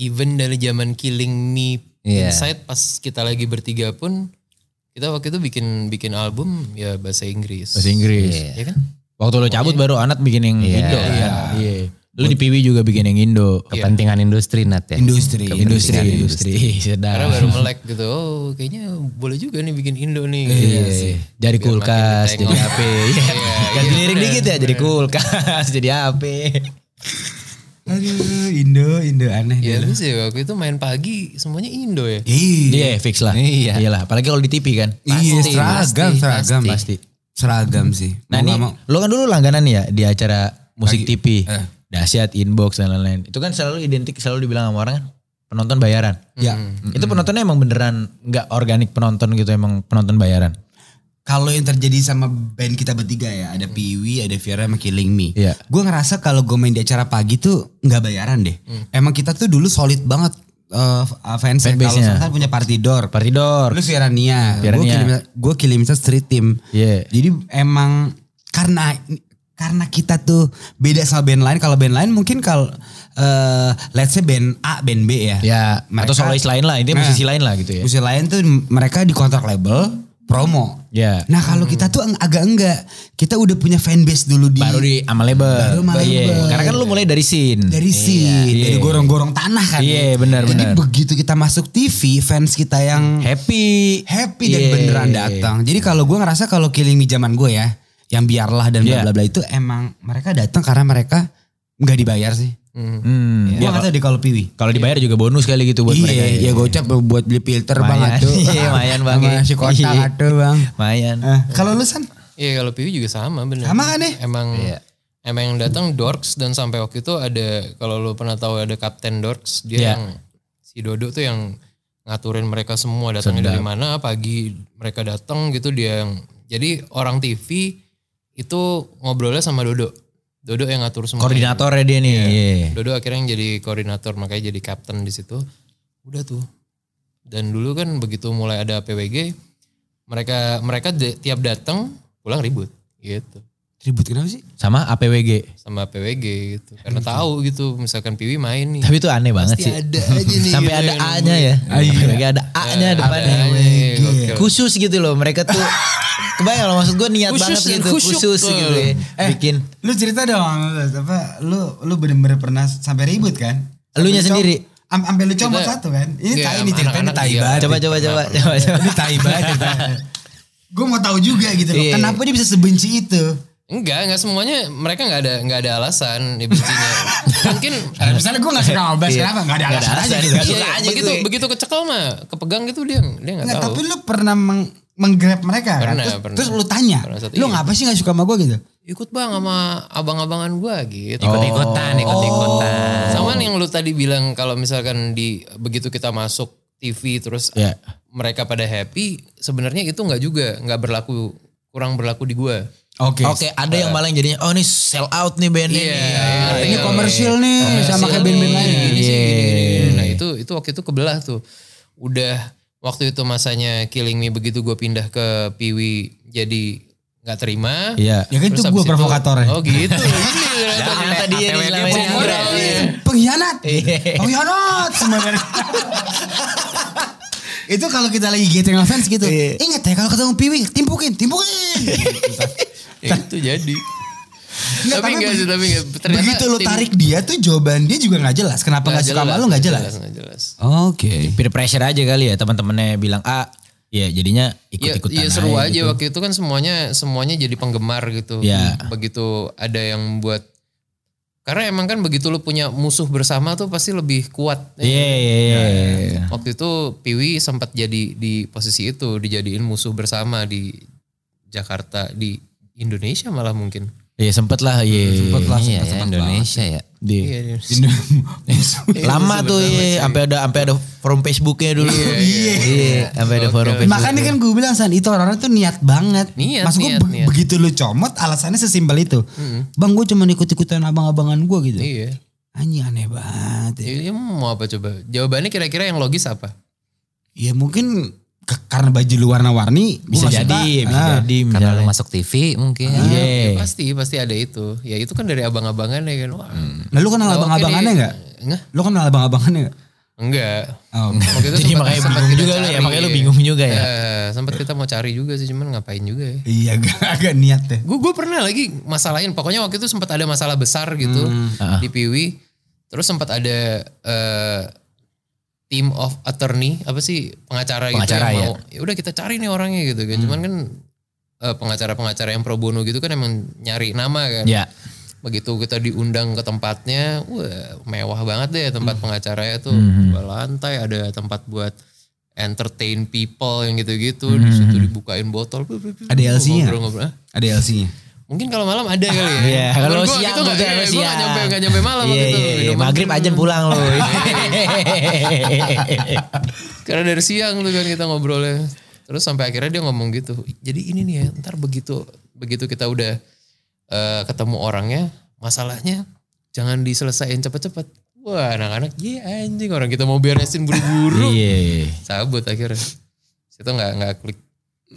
D: Even dari zaman Killing Me
C: Iya.
D: Inside pas kita lagi bertiga pun kita waktu itu bikin bikin album ya bahasa Inggris.
A: Bahasa Inggris.
D: Ya kan?
A: Waktu lo cabut baru Anat bikin yang
C: Iya.
A: Indo. kan? Iya. Lo di Piwi juga bikin yang Indo. Iya.
C: Kepentingan industri Nat ya.
B: Industri.
A: Industri, industri, Iya,
D: Karena
A: sedap.
D: baru melek gitu. Oh, kayaknya boleh juga nih bikin Indo nih.
A: Iya,
D: sih.
A: jadi
D: Biar makin
A: kulkas, jadi
D: ditengok.
A: HP. Iya. Ganti lirik dikit ya, jadi kulkas, jadi HP.
B: Aduh, Indo, Indo aneh.
D: Ya
B: deh.
D: lu sih waktu itu main pagi semuanya Indo ya.
B: Iya.
A: Iya, fix lah.
C: Iya.
A: Iyalah, apalagi kalau di TV kan.
B: Iya,
C: Pasti,
B: seragam,
C: pasti,
B: seragam
A: pasti.
B: pasti. Seragam sih.
A: Nah
B: Mau
A: ini,
B: nggak mau.
A: lo kan dulu langganan ya di acara musik
B: Lagi, Eh.
A: TV. Dahsyat, inbox, dan lain-lain. Itu kan selalu identik, selalu dibilang sama orang kan. Penonton bayaran. Hmm.
B: Ya,
A: Itu penontonnya emang beneran nggak organik penonton gitu, emang penonton bayaran.
B: kalau yang terjadi sama band kita bertiga ya, ada Piwi, ada Viera, sama Killing Me.
A: Iya.
B: Gue ngerasa kalau gue main di acara pagi tuh nggak bayaran deh.
A: Hmm.
B: Emang kita tuh dulu solid banget eh fans kalau
A: Fanbase-nya.
B: Sultan punya party door.
A: Partidor.
B: Lu Vierania,
A: Vierania.
B: gue Killing Me tuh street team.
A: Iya.
B: Jadi emang karena karena kita tuh beda sama band lain. Kalau band lain mungkin kalau eh, let's say band A, band B ya.
A: Ya, atau
B: Mereka-
A: solois lain lah, intinya
B: Nah.
A: musisi lain lah gitu ya.
B: Musisi lain tuh mereka dikontrak label promo.
A: Ya.
B: Nah kalau kita tuh eng- agak enggak, kita udah punya fanbase dulu di,
A: Baru di sama label.
B: Baru sama
A: Iya,
B: label.
A: Karena kan lu mulai dari scene.
B: dari si
A: Iya.
B: dari gorong-gorong tanah kan.
A: Iya, benar,
B: Jadi
A: benar.
B: begitu kita masuk TV, fans kita yang
A: happy.
B: happy dan
A: Iya.
B: beneran datang. Jadi kalau gue ngerasa kalau killing me zaman gue ya, yang biarlah dan
A: Iya.
B: bla bla bla itu emang mereka datang karena mereka nggak dibayar sih.
D: Hmm.
A: Hmm.
B: Gue Iya. nggak tahu deh kalau Piwi.
A: Kalau dibayar juga bonus kali gitu buat mereka.
B: Iya, ya gocap buat beli filter
A: Mayan.
B: bang atuh.
A: Iya, mayan, Bang.
B: Sama si kotak
A: Iya.
B: atuh bang.
A: Lumayan.
B: Eh, kalau lu San?
D: Iya kalau PW juga sama bener.
B: Sama kan ya?
D: Emang emang yang datang Dorks dan sampai waktu itu ada kalau lo pernah tahu ada Kapten Dorks dia
A: Iya.
D: yang si Dodo tuh yang ngaturin mereka semua datangnya dari mana pagi mereka datang gitu dia yang jadi orang TV itu ngobrolnya sama Dodo. Dodo yang ngatur semua.
A: Koordinatornya dia nih. Iya.
D: Dodo akhirnya yang jadi koordinator makanya jadi kapten di situ. Udah tuh. Dan dulu kan begitu mulai ada PWG mereka mereka de- tiap datang pulang ribut gitu.
B: Tribut kenapa sih?
A: sama APWG.
D: sama PWG gitu. Karena tahu gitu misalkan Piwi main nih.
A: Tapi itu aneh banget
D: Pasti
A: sih.
D: ada aja nih
A: Sampai
D: gitu
A: ada
D: yang
A: A-nya ya. APWG ada A-nya
D: Ada
A: depannya. Iya.
D: A-nya, gokil.
A: Khusus gitu loh mereka tuh. Kebayang loh maksud gue niat
D: Khusus
A: banget
D: dan
A: gitu.
D: khusyuk.
A: Khusus gitu ya. Bikin
B: Lu cerita dong, lu, apa, lu, lu bener-bener pernah sampai ribut kan?
A: Elunya
B: Sampai com-
A: sendiri.
B: am- Sampai lu comot
D: Kita-
B: satu kan? Ini
D: Iya, sama
B: tai nih ceritanya ini
D: anak-anak
B: tai
D: iya.
B: banget.
A: coba coba coba coba coba.
B: Ini tai banget. Gue mau tahu juga gitu loh.
A: Iya.
B: Kenapa dia bisa sebenci itu?
D: Enggak, enggak semuanya mereka enggak ada enggak ada alasan ya bencinya. Mungkin
B: Eh, Misalnya gue gak suka sama Bas,
A: Iya.
B: kenapa? Gak ada
A: Nggak ada
B: alasan aja
A: alasan,
B: gitu.
A: nggak
D: iya,
A: aja
D: begitu
A: gue.
D: begitu kecekel mah kepegang gitu dia dia enggak
B: Nggak,
D: tahu.
B: tapi lu pernah meng menggrab mereka kan?
D: Pernah,
B: Terus,
D: pernah.
B: terus lu tanya,
D: Pernah satu-
B: lu
D: iya.
B: ngapa sih gak suka sama gue gitu?
D: Ikut Bang sama abang-abangan gua gitu.
C: Ikut-ikutan, ikut-ikutan.
D: Sama nih yang lu tadi bilang kalau misalkan di begitu kita masuk TV terus
A: Ya.
D: mereka pada happy, sebenarnya itu enggak juga, enggak berlaku kurang berlaku di gua.
B: Oke.
A: Oke, ada yang malah jadinya oh ini sell out nih band ini.
D: Iya,
B: Ini
D: iya.
B: komersil nih, sama kayak
D: Hasil
B: band-band
D: nih,
B: lain.
D: gini sih,
A: Iya.
D: gini, gini, gini. Nah itu itu waktu itu kebelah tuh. Udah waktu itu masanya Killing Me begitu gue pindah ke Piwi jadi nggak terima.
A: Iya.
B: Ya kan
D: Terus
B: itu
D: habis
B: gue provokatornya.
D: Oh gitu. Ini ternyata.
A: Ternyata dia
C: APWG
A: nih selama ini
D: pemurah.
A: ada.
D: Iya.
B: Pengkhianat. Pengkhianat sebenarnya. itu kalau kita lagi getting offense gitu.
A: Iya.
B: Ingat ya kalau ketemu Piwi, timpukin, timpukin.
D: Ya, itu jadi.
B: Nggak,
D: tapi enggak sih, tapi enggak. Ternyata
B: Begitu lo
D: tim-
B: tarik dia tuh jawaban dia juga gak jelas. Kenapa gak, suka sama lo gak jelas.
D: Nggak jelas.
B: Oke.
A: Peer pressure aja kali ya teman-temannya bilang A, ya jadinya
D: Iya,
A: ikut-ikutan.
D: iya seru aja
A: gitu.
D: waktu itu kan semuanya semuanya jadi penggemar gitu.
A: Iya.
D: Begitu ada yang buat karena emang kan begitu lu punya musuh bersama tuh pasti lebih kuat.
A: Iya, iya, iya, iya.
D: Waktu itu Piwi sempat jadi di posisi itu dijadiin musuh bersama di Jakarta di Indonesia malah mungkin.
A: Iya sempet lah, iya.
B: Sempet lah,
C: Iya
B: sempet
C: ya, Indonesia ya.
A: Di-
D: Iya, di-
A: Lama tuh iya, sampai ada sampai ada forum Facebooknya dulu. Iya, sampai ada forum Facebook.
B: Makanya kan gue bilang San, itu orang-orang tuh niat banget.
D: Niat,
B: Maksud gue
D: niat,
B: be-
D: niat.
B: begitu lu comot alasannya sesimpel itu. Bang gue cuma ikut-ikutan abang-abangan gue gitu.
D: Iya.
B: Anjing aneh banget. Ya,
D: Iya, mau apa coba? Jawabannya kira-kira yang logis apa?
B: Ya, mungkin ke- karena baju lu warna-warni.
A: bisa
B: gua nggak
A: jadi,
B: suka.
A: ya, bisa
B: Ah.
A: jadi
C: Karena
A: misalnya.
C: lu masuk TV mungkin.
A: Iya.
D: Ya, pasti pasti ada itu. Ya itu kan dari abang-abangan ya kan. Wah.
B: Nah, lu kenal
D: oke
B: abang-abangannya
A: ya
D: deh.
B: gak?
D: Enggak.
B: Lu kenal abang-abangannya gak?
D: Enggak.
B: Oh,
D: Waktu itu
A: Jadi
D: sempat-
A: makanya
D: sempat
A: bingung
D: kita
A: juga lu ya,
D: cari.
A: makanya lu bingung juga ya.
D: Eh, sempat kita mau cari juga sih, cuman ngapain juga ya.
B: iya gak, agak niat deh.
D: Gue gue pernah lagi masalahin. Pokoknya waktu itu sempat ada masalah besar gitu
A: Hmm.
B: Hmm,
D: di Piwi. Terus sempat ada eh team of attorney apa sih pengacara,
A: Pengacara, Hmm.
D: gitu
A: ya.
D: yang mau. Ya udah kita cari nih orangnya gitu kan. Cuman kan eh, pengacara-pengacara yang pro bono gitu kan emang nyari nama kan.
A: Ya.
D: Begitu kita diundang ke tempatnya, wah mewah banget deh tempat
A: Hmm.
D: pengacaranya tuh. Dua lantai ada tempat buat entertain people yang gitu-gitu.
A: Hmm.
D: Di situ dibukain botol.
B: Ada LC-nya?
D: Ngobrol-ngobrol. Hah?
B: Ada LC-nya.
D: Mungkin kalau malam ada kali ya.
A: Iya, kalau
D: Cuman gua-
A: siang
D: itu
A: udah
D: nggak-
A: kalau
D: Gua
A: siang.
D: nggak nyampe, nggak nyampe malam
A: Iya,
D: waktu itu.
A: iya, iya.
D: Minuman
A: Maghrib
D: dulu.
A: aja pulang lu. Iya.
D: Karena dari siang tuh kan kita ngobrolnya. Terus sampai akhirnya dia ngomong gitu. Jadi ini nih ya, ntar begitu begitu kita udah eh, ketemu orangnya, masalahnya jangan diselesain cepet-cepet. Wah anak-anak, iya anjing orang kita mau beresin buru-buru.
A: Iya.
D: Sabut akhirnya. Itu nggak nggak klik.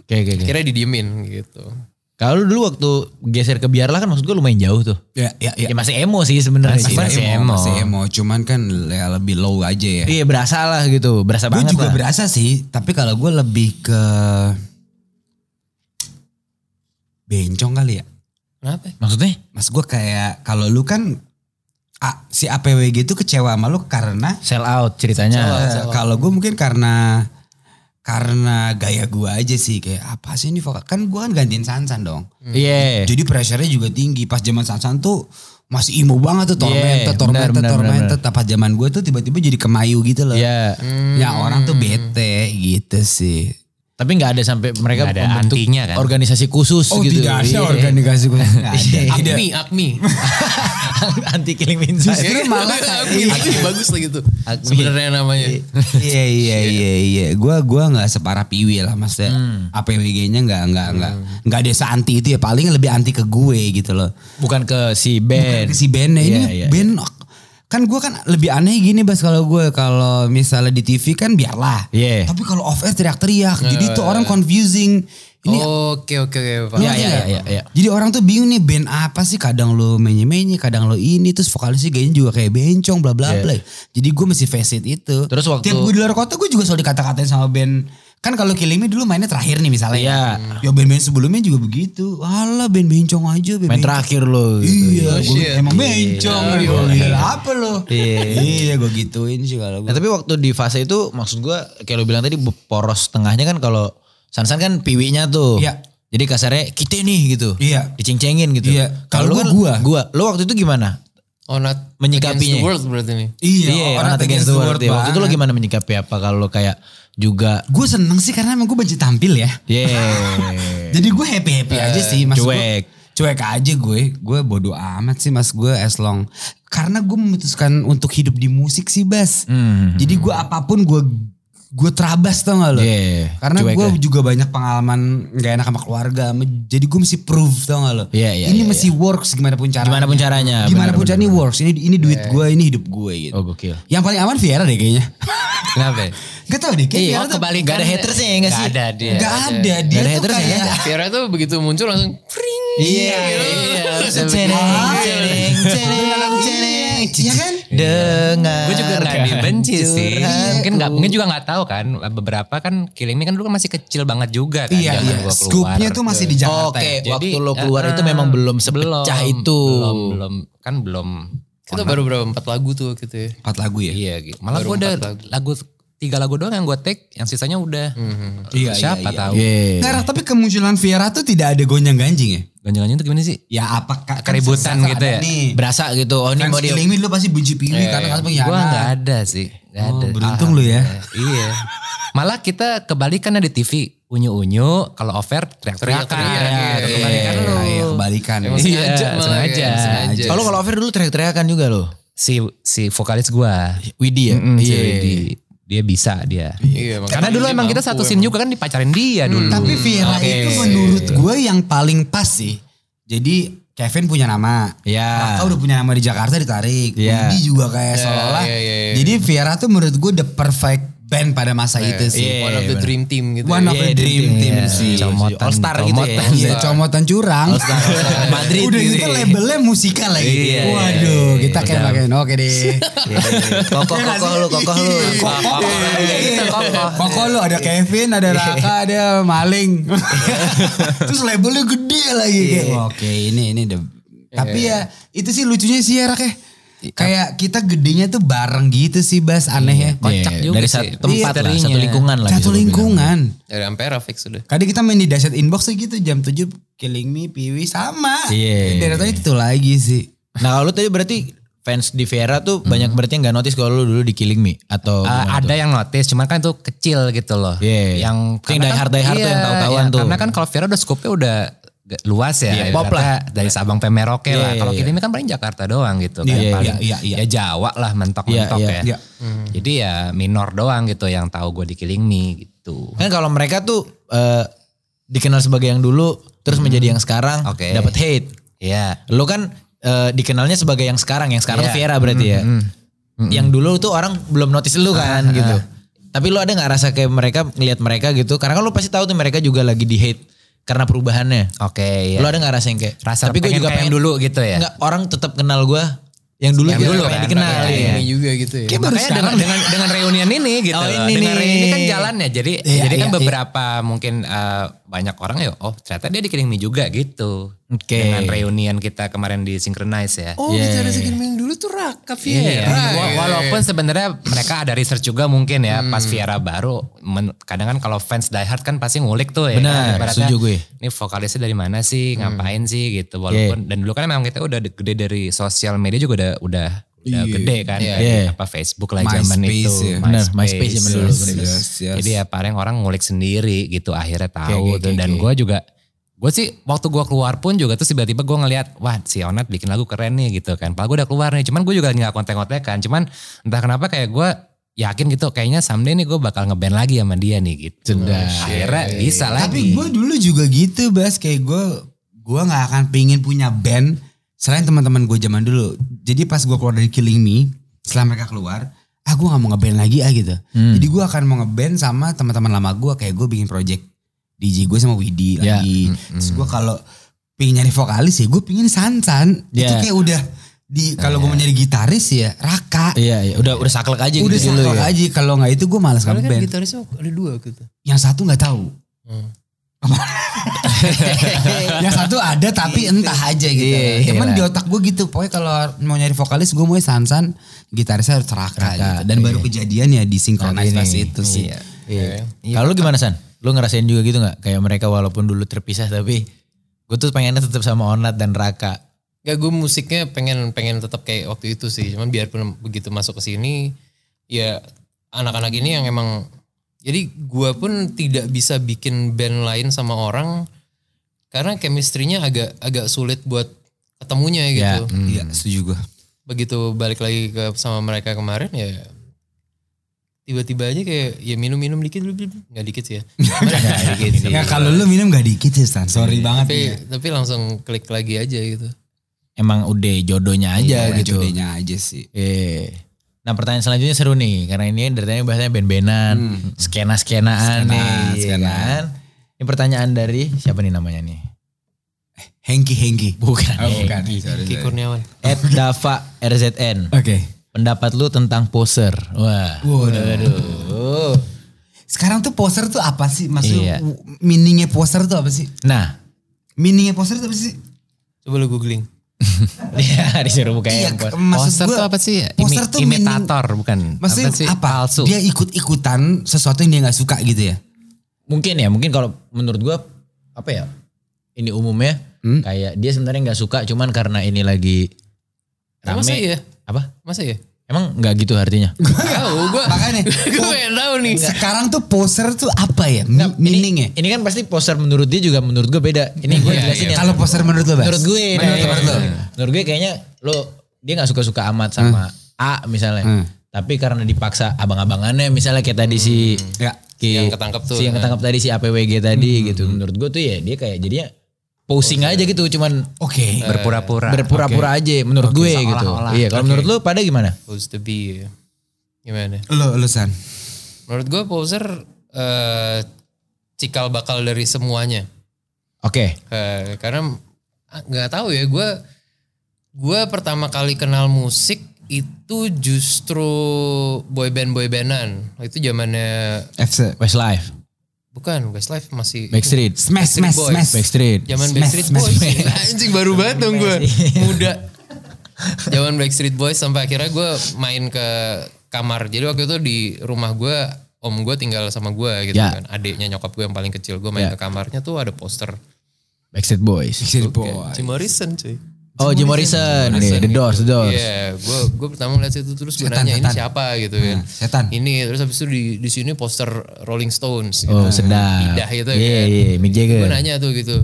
A: Oke, oke, oke.
D: Akhirnya didiemin gitu.
A: Kalau lu dulu waktu geser ke biarlah kan maksud gue lumayan jauh tuh.
B: Ya, ya,
A: Ya
B: ya.
A: masih emo sih sebenarnya. sih.
B: Masih, masih
C: masih
B: emo,
C: emo.
B: masih emo. Cuman kan ya lebih low aja ya.
A: Iya berasa lah gitu, berasa
B: Gue
A: banget
B: juga
A: lah.
B: berasa sih, tapi kalau gue lebih ke bencong kali ya.
D: Kenapa?
A: Maksudnya?
B: Mas gue kayak kalau lu kan A- si APWG itu kecewa sama lu karena
A: Sell out ceritanya.
B: eh, kalau gue mungkin karena karena gaya gue aja sih kayak apa sih ini vokal kan gue kan gantiin Sansan dong.
A: Iya.
B: Jadi pressure-nya juga tinggi pas zaman Sansan tuh masih emo banget tuh tormented,
A: Iya,
B: tormented,
A: benar, benar,
B: tormented. Pas zaman gue tuh tiba-tiba jadi kemayu gitu loh.
A: Iya. Hmm.
B: Ya orang tuh bete gitu sih.
A: Tapi nggak ada sampai mereka
C: Nggak ada
A: membentuk
C: antinya kan?
A: organisasi khusus
B: Oh
A: gitu.
B: tidak
A: Iya.
B: ada organisasi khusus. Nggak ada. Tidak.
D: Akmi, Akmi.
A: Anti killing Minsus.
B: Justru malah
D: Akmi, Akmi bagus lah gitu.
A: Akmi.
D: Sebenarnya namanya.
B: Iya iya iya iya. Gua gua nggak separah Piwi lah maksudnya.
A: Hmm.
B: APWG-nya nggak nggak nggak nggak ada seanti itu ya paling lebih anti ke gue gitu loh.
A: Bukan ke si band.
B: Si bandnya ini
A: Iya, iya,
B: band kan gue kan lebih aneh gini bas kalau gue kalau misalnya di TV kan biarlah.
A: Iya.
B: Tapi kalau off air teriak-teriak, jadi tuh orang confusing. Ini
D: Oke oke oke Pak.
B: Iya,
A: Oh, Iya, iya, iya, iya.
B: Jadi orang tuh bingung nih band apa sih kadang lo menye-menye, kadang lo ini terus vokalisnya kayaknya juga kayak bencong bla bla bla. Jadi gue masih facet itu.
A: Iya. Terus waktu-
B: tiap gue di luar kota gue juga selalu dikata-katain sama band kan kalau Kilimi dulu mainnya terakhir nih misalnya.
A: Iya.
B: Ya band-band sebelumnya juga begitu. Alah band bencong aja
A: Main
B: band bencong.
A: terakhir lo gitu.
B: Iya, gua-
D: shit.
B: emang bencong.
D: Iya.
B: Gua bilang, apa lo? Iya, gue gituin sih kalau
A: Nah,
B: gue.
A: tapi waktu di fase itu maksud gua kayak lo bilang tadi be- poros tengahnya kan kalau Sansan kan piwinya tuh.
B: Iya.
A: Jadi kasarnya kita nih gitu.
B: Iya.
A: Diceng-cengin gitu.
B: Iya.
A: Kalau
B: Kalau
A: lu kan
B: gua,
A: gua. Lu waktu itu gimana?
D: Onat
A: Menyikapinya.
D: Oh, against the world berarti nih.
B: Iya, orang
A: orang against the world. ya. Waktu itu lo
B: banget.
A: gimana menyikapi apa kalau lo kayak juga
B: Gue seneng sih karena emang gue benci tampil ya.
A: yeah.
B: Jadi gue happy happy aja sih, mas
A: cuek.
B: cuek aja gue, gue bodoh amat sih mas gue as long. Karena gue memutuskan untuk hidup di musik sih bas.
A: Hmm. Iya,
B: Jadi gue apapun gue gue terabas tau gak lo?
A: Yeah,
B: Karena
A: cuek
B: gue
A: ya.
B: juga banyak pengalaman gak enak sama keluarga, me- jadi gue mesti prove tau gak lo?
A: Iya, iya,
B: ini
A: iya,
B: mesti works gimana pun caranya.
A: Gimana pun caranya, benar,
B: Gimana pun
A: benar, Iya.
B: caranya ini works. Ini ini duit gue, ini hidup gue gitu.
A: Oh gokil.
B: Yang paling aman Viera deh kayaknya.
C: Kenapa? Iya,
B: gak tau deh,
A: Iya,
B: kayak Viera tuh
A: kebalikan. Gak ada hatersnya ya gak sih?
C: Gak ada dia.
B: gak ada. Dia
A: ada
B: tuh
A: haters ya?
B: kayak
D: Viera tuh begitu muncul langsung pring.
A: Iya. Cereng, cereng, cereng, cereng.
B: Iya kan?
A: Dengar.
C: Gue juga gak dibenci sih.
B: curhatku.
C: Mungkin gak, mungkin juga gak tahu kan. Beberapa kan Killing Me kan dulu kan masih kecil banget juga kan.
B: Iya,
C: zaman
B: iya.
C: gua keluar.
B: Scoopnya tuh masih di Jakarta.
A: Oke,
B: ya?
A: waktu
C: Jadi,
A: lo keluar itu
C: ah,
A: memang belum sepecah
C: belum,
A: itu.
C: Belum, belum. Kan belum.
D: Kita baru berapa empat lagu tuh gitu ya.
B: Empat lagu ya.
C: Iya gitu. Malah
D: Baru
C: gue udah
D: empat
C: lagu tiga lagu doang yang gue take, yang sisanya udah
B: Iya, iya,
C: siapa
B: iya.
C: tahu.
A: Yeah.
B: Nggak, Rak, tapi kemunculan Viera tuh tidak ada gonjang ganjing ya?
C: Ganjel-ganjel itu gimana sih?
B: Ya apakah
C: Keributan
B: kan
C: gitu ya?
B: Nih,
A: Berasa gitu. Oh ini
B: fans
A: mau Iya, di
B: Killing Me dulu pasti benci pilih karena kan pengkhianat.
C: Gue nggak ada sih. Gak
B: Oh,
C: ada.
B: beruntung lu ya.
C: iya. Malah kita kebalikannya di TV unyu-unyu, kalau over teriak-teriakan.
D: Teriak-teriak,
C: Iya,
D: iya.
A: Eh,
C: kebalikan lu.
B: Iya, kebalikan.
D: Emang
C: Iya,
D: sengaja malah ya,
C: sengaja.
D: sengaja.
A: Kalau kalau Over dulu teriak-teriakan juga lo.
C: Si si vokalis gua,
A: Widi ya?
C: Mm, si
A: Iya.
C: Widi. dia bisa dia.
D: Iya, makanya
C: Karena dulu
D: dia
C: emang kita
D: mampu
C: satu scene juga kan dipacarin dia
A: Hmm.
C: dulu.
B: Tapi Viera
A: oke.
B: itu menurut gue yang paling pas sih. Jadi Kevin punya nama.
A: Iya.
B: Raka udah punya nama di Jakarta ditarik.
A: Iya.
B: Widi juga kayak seolah-olah.
D: iya, iya, iya.
B: Jadi Viera tuh menurut gue the perfect band pada masa itu sih.
A: Iya,
D: One of the
A: bener.
D: dream team gitu.
B: One of
D: ya.
A: Iya,
B: the dream team sih.
C: Comotan,
A: All star gitu ya.
C: comotan.
B: Iya, comotan curang.
A: Madrid
B: Udah
A: gitu
B: gitu
A: ya.
B: labelnya musikal lagi.
A: Iya,
B: Waduh,
A: iya,
B: kita kayak
C: udah.
B: makin oke deh.
A: Kokoh
B: Iya,
A: kokoh
B: sih?
A: lu, kokoh lu.
B: Iya, Kokoh.
C: Iya,
B: Iya,
C: iya, kokoh.
B: Kokoh lu ada Kevin, ada Raka, ada Maling. Terus labelnya gede lagi kayak. Oke, ini ini the Tapi ya itu sih lucunya sih ya Rak ya. Kayak kita gedenya tuh bareng gitu sih Bas aneh ya.
C: Kocak
A: Iya,
C: juga
A: dari
C: sih.
A: satu tempat
C: Iya,
A: lah, satu
C: terinya.
A: lingkungan lah.
B: Satu
A: bisa dibilang.
B: lingkungan.
D: Dari Ampera fix udah.
B: Kadang kita main di Dashat Inbox tuh gitu jam 7 Killing Me, Piwi sama.
A: Iya.
B: Dari tadi itu lagi sih.
A: Nah kalau lu tadi berarti fans di Vera tuh banyak berarti yang gak notice kalau lu dulu di Killing Me atau
C: Eh,
A: gimana
C: ada
A: tuh?
C: yang notice, cuman kan itu kecil gitu loh.
A: Iya.
C: Yang kan iya,
A: Itu yang die hard, die hard tuh yang tahu-tahuan tuh.
C: Karena kan kalau Vero udah scope-nya udah g- luas ya.
A: Iya, pop
C: ibaratnya Dari Sabang sampai Merauke
A: Iya,
C: lah.
A: iya,
C: Kalau
A: iya.
C: kita ini kan paling Jakarta doang gitu kan.
B: Iya,
C: Paling-
B: iya, iya,
C: Ya Jawa lah mentok-mentok
A: Iya,
C: ya.
B: iya.
C: Jadi ya minor doang gitu yang tahu gue di Killing Me gitu.
A: Kan kalau mereka tuh eh, dikenal sebagai yang dulu terus menjadi yang sekarang
C: Oke.
A: dapat hate.
C: Iya.
A: Lu kan eh, dikenalnya sebagai yang sekarang, yang sekarang
C: Iya.
A: tuh Vera berarti ya. Yang dulu tuh orang belum notice lu kan gitu. Tapi lu ada nggak rasa kayak mereka ngelihat mereka gitu? Karena kan lu pasti tahu tuh mereka juga lagi di hate karena perubahannya.
C: Oke iya.
A: Lu ada nggak rasa yang kayak?
C: Rasa
A: tapi gue
C: pengen
A: juga
C: kayak
A: pengen
C: yang dulu gitu ya?
A: Nggak, orang tetap kenal gue yang dulu
C: Yang
A: biar
C: dulu
A: pengen
C: kan,
A: dikenal.
C: iya,
A: Iya.
D: Ini juga gitu ya.
B: Kayak baru
C: Makanya dengan,
B: sekarang
C: dengan dengan reunian ini gitu.
A: Oh,
C: loh.
A: ini
C: dengan
A: nih.
C: reunian ini kan jalan ya. Jadi
B: Iya,
C: jadi kan
B: iya,
C: beberapa mungkin eh, banyak orang ya oh ternyata dia di Killing Me juga gitu.
A: Oke.
C: Dengan reunian kita kemarin di Synchronize ya. Iya,
D: Oh, iya.
A: Iya.
D: bicara Second Man dulu tuh Raka Viera.
C: Wa- Walaupun sebenarnya mereka ada research juga mungkin ya pas Viera baru men- kadang kan kalau fans Die Hard kan pasti ngulik tuh ya.
A: Benar,
C: Ibaratnya,
A: setuju gue.
C: Ini vokalisnya dari mana sih,
A: Hmm.
C: ngapain sih gitu. Walaupun dan dulu kan memang kita udah de- gede dari sosial media juga udah udah udah gede kan Dari
A: Iya.
C: apa Facebook lah zaman
B: MySpace
C: itu.
B: ya.
A: Benar, MySpace zaman dulu,
C: yes,
A: benar.
C: yes.
B: Yes.
C: Jadi ya paling orang ngulik sendiri gitu akhirnya
A: Oke,
C: tahu
A: oke,
C: tuh.
A: oke,
C: dan
A: oke.
C: gue juga gue sih waktu gue keluar pun juga tuh tiba-tiba gue ngeliat wah si Onat bikin lagu keren nih gitu kan. Padahal gue udah keluar nih, cuman gue juga nggak kontek-kontekan. Cuman entah kenapa kayak gue yakin gitu kayaknya someday nih gue bakal ngeband lagi sama dia nih gitu.
A: Sudah.
C: Akhirnya bisa lagi.
B: Tapi gue dulu juga gitu Bas. Kayak gue gue gak akan pingin punya band selain teman-teman gue zaman dulu. Jadi pas gue keluar dari Killing Me. setelah mereka keluar ah gue gak mau ngeband lagi ah gitu
A: Hmm.
B: jadi gue akan mau ngeband sama teman-teman lama gue kayak gue bikin project DJ gue sama Widi
A: Ya.
B: lagi terus gue kalau pingin nyari vokalis ya gue pingin Sansan itu
A: Ya.
B: kayak udah di kalau gue mau nyari gitaris ya Raka
A: Iya, iya, udah udah saklek aja
B: udah
A: gitu dulu
B: saklek
A: ya.
B: aja kalau nggak itu gue malas
D: Soalnya kan
B: ngeband
D: gitarisnya ada dua gitu.
B: yang satu nggak tahu
D: Hmm.
B: yang Ya, satu ada tapi entah aja gitu.
A: Iya,
B: Cuman
A: iya.
B: di otak gue gitu. Pokoknya kalau mau nyari vokalis gue mau Sansan, gitarisnya harus Raka, gitu. Dan baru kejadian ya di sinkronisasi
A: Ini.
B: itu sih.
A: Iya. Iya. Kalau lu gimana San? Lu ngerasain juga gitu nggak? Kayak mereka walaupun dulu terpisah tapi gue tuh pengennya tetap sama Onat dan Raka.
D: Gak gue musiknya pengen pengen tetap kayak waktu itu sih. Cuman biarpun begitu masuk ke sini ya anak-anak ini yang emang jadi gue pun tidak bisa bikin band lain sama orang karena chemistry-nya agak agak sulit buat
A: Ya,
D: ketemunya gitu.
B: Iya, setuju gue.
D: begitu balik lagi ke sama mereka kemarin ya tiba-tiba aja kayak ya minum-minum dikit blub, blub. nggak dikit sih ya
A: Nggak dikit sih.
B: Ya kalau lu minum gak dikit sih San. Sorry banget
D: tapi
B: nih ya.
D: tapi langsung klik lagi aja gitu
A: Emang udah jodohnya aja
B: Iya,
A: gitu.
B: jodohnya aja sih.
A: Eh. Nah pertanyaan selanjben seru nih karena ini dari tadi bahasanya ben-benan, skena-skenaan
B: Hmm. Skena,
A: nih, iya
B: skena.
A: kan? Ini pertanyaan dari siapa nih namanya nih?
B: Hengki Hengki.
A: Bukan.
B: Oh, bukan.
A: Hengki.
B: Sorry,
D: Ki
B: sorry.
D: Kurniawan
A: Ed Dava RZN.
B: Oke.
A: Pendapat lu tentang poser. Wah. Waduh.
B: Sekarang tuh poser tuh apa sih?
A: Iya.
B: Maksudnya w- meaningnya poser tuh apa sih?
A: Nah,
B: Meaningnya poser tuh apa sih?
D: coba lu googling
A: dia disuruh buka
B: Iya,
A: yang poser.
B: maksud
C: poster
B: gua-
C: tuh apa sih? Imi-
B: Poser tuh meaning-
C: imitator bukan?
B: Maksudnya
C: sih?
B: apa?
C: Palsu. Iya,
B: Dia ikut-ikutan sesuatu yang dia nggak suka gitu ya?
A: Mungkin ya, mungkin kalau menurut gua apa ya? Ini umumnya
B: Hmm?
A: kayak dia sebenarnya nggak suka cuman karena ini lagi rame.
D: masa
B: ya?
D: iya
A: Apa?
D: masa iya
A: Emang nggak gitu artinya?
D: tahu gue
B: Makanya.
D: gue pengen tahu nih
B: Sekarang tuh poser tuh apa ya? Mi- meaningnya.
A: Ini kan pasti poser menurut dia juga menurut gue beda. Ini gue jelasin ya.
B: Kalau poser menurut lo, Bas?
A: Menurut gue. nah,
B: Menurut,
A: iya,
B: menurut lo.
A: iya. Menurut gue kayaknya lo dia nggak suka-suka amat sama A misalnya.
B: Hmm.
A: Tapi karena dipaksa abang-abangannya misalnya kayak tadi si
B: Ya.
A: Ki-
D: Yang ketangkep tuh,
A: Si yang
D: nah.
A: ketangkep tadi si APWG tadi gitu. Menurut gue tuh ya dia kayak jadinya posing aja gitu cuman
B: Oke.
C: Berpura-pura.
A: berpura-pura aja menurut gue gitu. Iya, kalau menurut lu pada gimana?
D: supposed to be ya. gimana
B: Lo, lo San.
D: menurut gue poser eh, cikal bakal dari semuanya
A: Oke.
D: Eh, karena ah, nggak tahu ya gue gue pertama kali kenal musik itu justru boyband boybandan itu zamannya
B: FC.
A: Westlife,
D: bukan Westlife masih
A: Backstreet,
B: Smash, smash,
D: Boys.
B: smash.
A: Backstreet.
D: zaman
B: Smash,
D: Backstreet
B: smash,
D: Boys anjing baru banget dong gue muda zaman Backstreet Boys sampai akhirnya gue main ke kamar jadi waktu itu di rumah gue om gue tinggal sama gue gitu
A: Ya.
D: kan adiknya nyokap gue yang paling kecil gue
A: Ya.
D: main ke kamarnya tuh ada poster
A: Backstreet Boys.
B: Backstreet
D: kayak
B: Boy.
D: Jim Morrison cuy gitu.
A: Oh, Jim Morrison, nih, The Doors, The Doors.
D: Iya, gue gue pertama lihat itu terus gue
B: Setan,
D: nanya ini
B: setan.
D: siapa gitu
A: Nah,
D: kan.
B: Hmm, setan.
D: Ini terus habis itu di di sini poster Rolling Stones. gitu kan.
A: Oh, sedap.
D: Pindah gitu
A: Iya,
D: kan.
A: iya, Mick Jagger.
D: Gue nanya tuh gitu.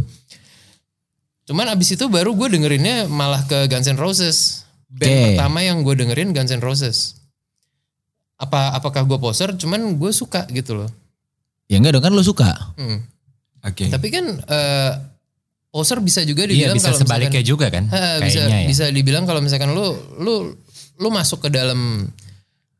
D: Cuman abis itu baru gue dengerinnya malah ke Guns N' Roses. Band
A: Oke.
D: pertama yang gue dengerin Guns N' Roses. Apa apakah gue poser? Cuman gue suka gitu loh.
A: Ya enggak dong kan lu suka.
D: Hmm.
B: Oke.
D: Tapi kan eh, poser bisa juga
C: Iya
D: dibilang
C: bisa
D: kalau misalkan-
C: sebaliknya juga kan?
D: Ha, bisa
C: Kayaknya ya.
D: bisa dibilang kalau misalkan lu lu lu masuk ke dalam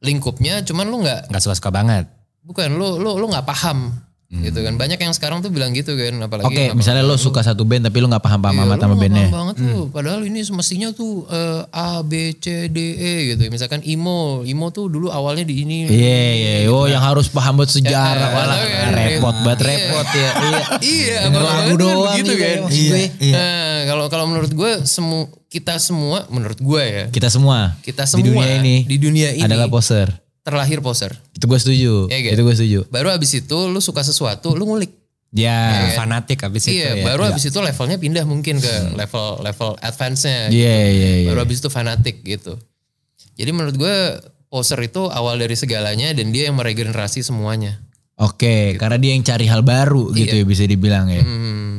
D: lingkupnya cuman lu nggak
C: Gak suka-suka banget.
D: bukan lu lu lu nggak paham
C: Hmm.
D: gitu kan banyak yang sekarang tuh bilang gitu kan apalagi
A: Oke,
D: nggak
A: misalnya lu suka satu band tapi lu nggak paham-paham
D: Iya,
A: amat
D: lu
A: sama Hmm.
D: nggak
A: bandnya.
D: paham banget tuh padahal ini semestinya tuh eh, A B C D E gitu misalkan imo imo tuh dulu awalnya di ini
A: Iya, iya. Oh, yang harus paham buat sejarah.
D: Ya,
A: Walah,
D: gitu kan. iya,
A: repot
D: iya.
A: banget,
D: Iya.
A: repot ya. Iya.
D: iya
A: Denger
D: abang-abang
A: lagu
D: kan
A: doang
D: begitu
A: iya,
D: kan
A: maksud gue.
D: Nah, kalau kalau menurut gue semu kita semua menurut gue ya
A: Kita semua.
D: kita semua
A: Di dunia ini.
D: di dunia ini
A: Adalah poser.
D: terlahir poser
A: Itu gue setuju.
D: Iya, gitu.
A: Itu gue setuju.
D: Baru abis itu lu suka sesuatu, lu ngulik.
A: Ya.
C: Fanatik abis itu
D: Iya,
C: ya.
D: baru abis itu levelnya pindah mungkin ke level level advance-nya.
A: Iya, iya, iya.
D: Baru abis itu fanatik gitu. Jadi menurut gue poser itu awal dari segalanya dan dia yang meregenerasi semuanya.
A: Oke, karena dia yang cari hal baru gitu ya bisa dibilang ya.
D: Gitu. Iya. Hmm,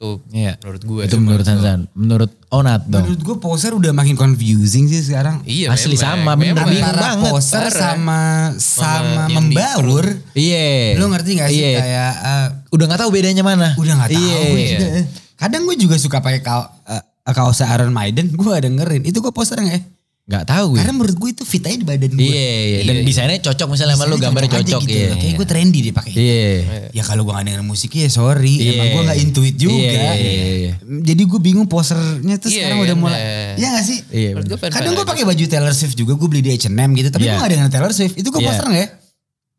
D: tuh
A: Iya.
D: menurut ya. gue.
A: Itu menurut Sansan. Menurut Onat dong.
B: Menurut gue poser udah makin confusing sih sekarang.
D: Iya,
A: Asli sama, bener.
D: memang. ya.
A: Bingung
B: Antara
A: banget.
B: poser
D: Parah.
B: sama sama
D: Sama yang
B: membaur.
A: Iya.
B: Lo ngerti gak sih
A: Iya.
B: kayak eh,
A: Udah nggak tahu bedanya mana.
B: udah nggak tahu.
A: Iya.
B: gua juga. eh, Kadang gue juga suka pakai kau, eh, kaosnya Iron Maiden. Gue dengerin. Itu gue poser nggak ya?
A: Nggak tahu gue.
B: Karena menurut gue itu fit aja di badan gue.
A: Iya, iya. Dan desainnya cocok misalnya sama lu,
B: Desainnya
A: gambarnya
B: aja
A: cocok.
B: gitu
A: Iya.
B: loh. Kayak gue trendy deh pakai.
A: Iya.
B: Ya kalau gue gak denger musiknya ya sorry. Emang
A: Iya.
B: gue gak intuit juga.
A: Iya, iya, iya.
B: Jadi gue bingung posernya tuh
D: Iya,
B: sekarang
D: iya,
B: udah mulai.
D: iya.
B: Iya gak sih?
A: Iya,
D: Menurut gue fan-fan
B: Kadang gue
D: aja.
B: pakai baju Taylor Swift juga. Gue beli di H&M gitu. Tapi
A: Iya.
B: gue gak denger Taylor Swift. Itu gue
A: Iya.
B: poster gak ya?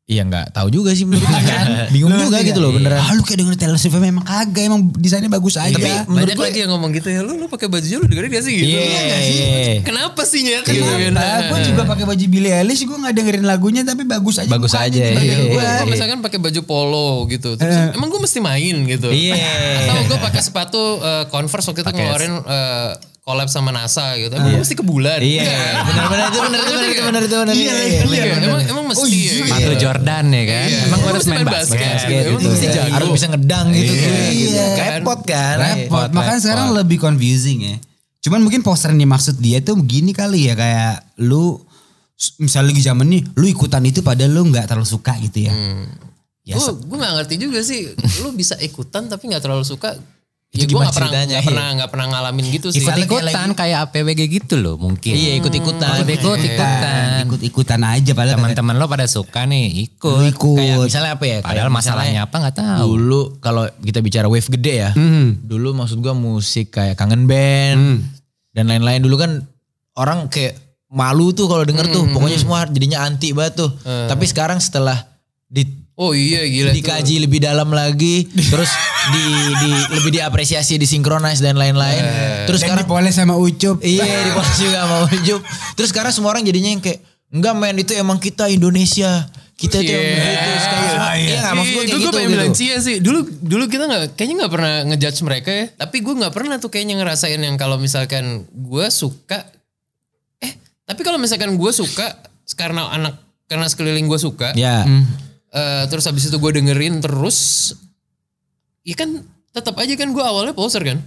A: Iya nggak tahu juga sih menurut gue kan. Bingung
B: Lu
A: juga
B: ngerti
A: gitu
B: gak?
A: loh beneran. Iya.
B: Ah lu kayak denger Taylor Swift emang kagak. Emang desainnya bagus aja.
D: Tapi
B: Tapi
D: banyak lagi yang ngomong gitu ya, lu lu pakai baju lu dengerin gak sih gitu.
A: Iya,
D: Lu nggak
A: iya.
D: Kenapa sih nyet? Gitu, kan?
B: Kenapa? Gue Iya, juga pakai baju Billie Eilish, gue gak dengerin lagunya tapi bagus aja.
A: Bagus
B: mukanya
A: aja,
B: di badan
A: iya.
B: gua.
D: Gue misalkan pakai baju polo gitu. Terus, emang gue mesti main gitu.
A: Eh. Iya.
D: Atau gue pakai sepatu eh, Converse waktu itu ngeluarin eh, collab sama NASA gitu. Emang gue mesti ke bulan.
A: Iya. Benar-benar itu benar itu benar itu benar itu benar. Iya. iya,
D: Iya,
A: bener. iya.
D: emang emang mesti ya, gitu.
C: Michael Jordan ya kan.
D: Iya.
C: Emang harus main basket.
A: Basket
D: Emang
A: gitu.
D: mesti jago.
A: Harus bisa ngedang gitu.
B: Iya.
A: Repot kan.
B: repot. Makanya sekarang lebih confusing ya. Cuman mungkin poster yang dimaksud dia tuh begini kali ya kayak lu s- misalnya lagi zaman nih lu ikutan itu padahal lu nggak terlalu suka gitu ya.
A: Hmm.
B: Ya,
D: Gue gue gak ngerti juga sih. Lu bisa ikutan tapi gak terlalu suka. Ya
A: Itu
D: gue
A: gimana
D: gak pernah
A: ceritanya,
D: gak
A: iya.
D: pernah gak pernah ngalamin gitu sih.
C: Ikut ikutan kayak APWG gitu loh mungkin.
A: Iya ikut-ikutan.
C: Ikut
B: Iya.
A: Iya.
C: ikutan.
B: ikut-ikutan aja padahal
C: Teman-teman lo pada suka nih
B: lu
C: ikut.
B: ikut.
A: Kayak misalnya apa ya? kayak
C: Padahal masalahnya apa nggak
A: misalnya
C: tahu.
A: Dulu kalau kita bicara wave gede ya. Dulu maksud gua musik kayak kangen band dan lain-lain dulu kan orang kayak malu tuh kalau denger tuh. Pokoknya semua jadinya anti banget tuh. Tapi sekarang setelah di
D: Oh iya gila. itu.
A: dikaji lebih dalam lagi terus di, di lebih diapresiasi disinkronis dan lain-lain terus
B: Dan
A: sekarang
B: dipoles sama Ucup.
A: iya dipoles juga mau Ucup terus sekarang semua orang jadinya yang kayak enggak men itu emang kita Indonesia kita itu yang begitu sekarang semua iya nggak maksud gue
D: Iya,
A: kayak
D: gue
A: gitu
D: pengen bilang
A: gitu
D: Cia sih. Dulu dulu kita nggak kayaknya nggak pernah ngejudge mereka ya. Tapi gue nggak pernah tuh kayaknya ngerasain yang kalau misalkan gue suka. Eh tapi kalau misalkan gue suka karena anak karena sekeliling gue suka.
A: ya
D: eh, terus habis itu gue dengerin terus. Ya kan tetap aja kan gue awalnya poser kan.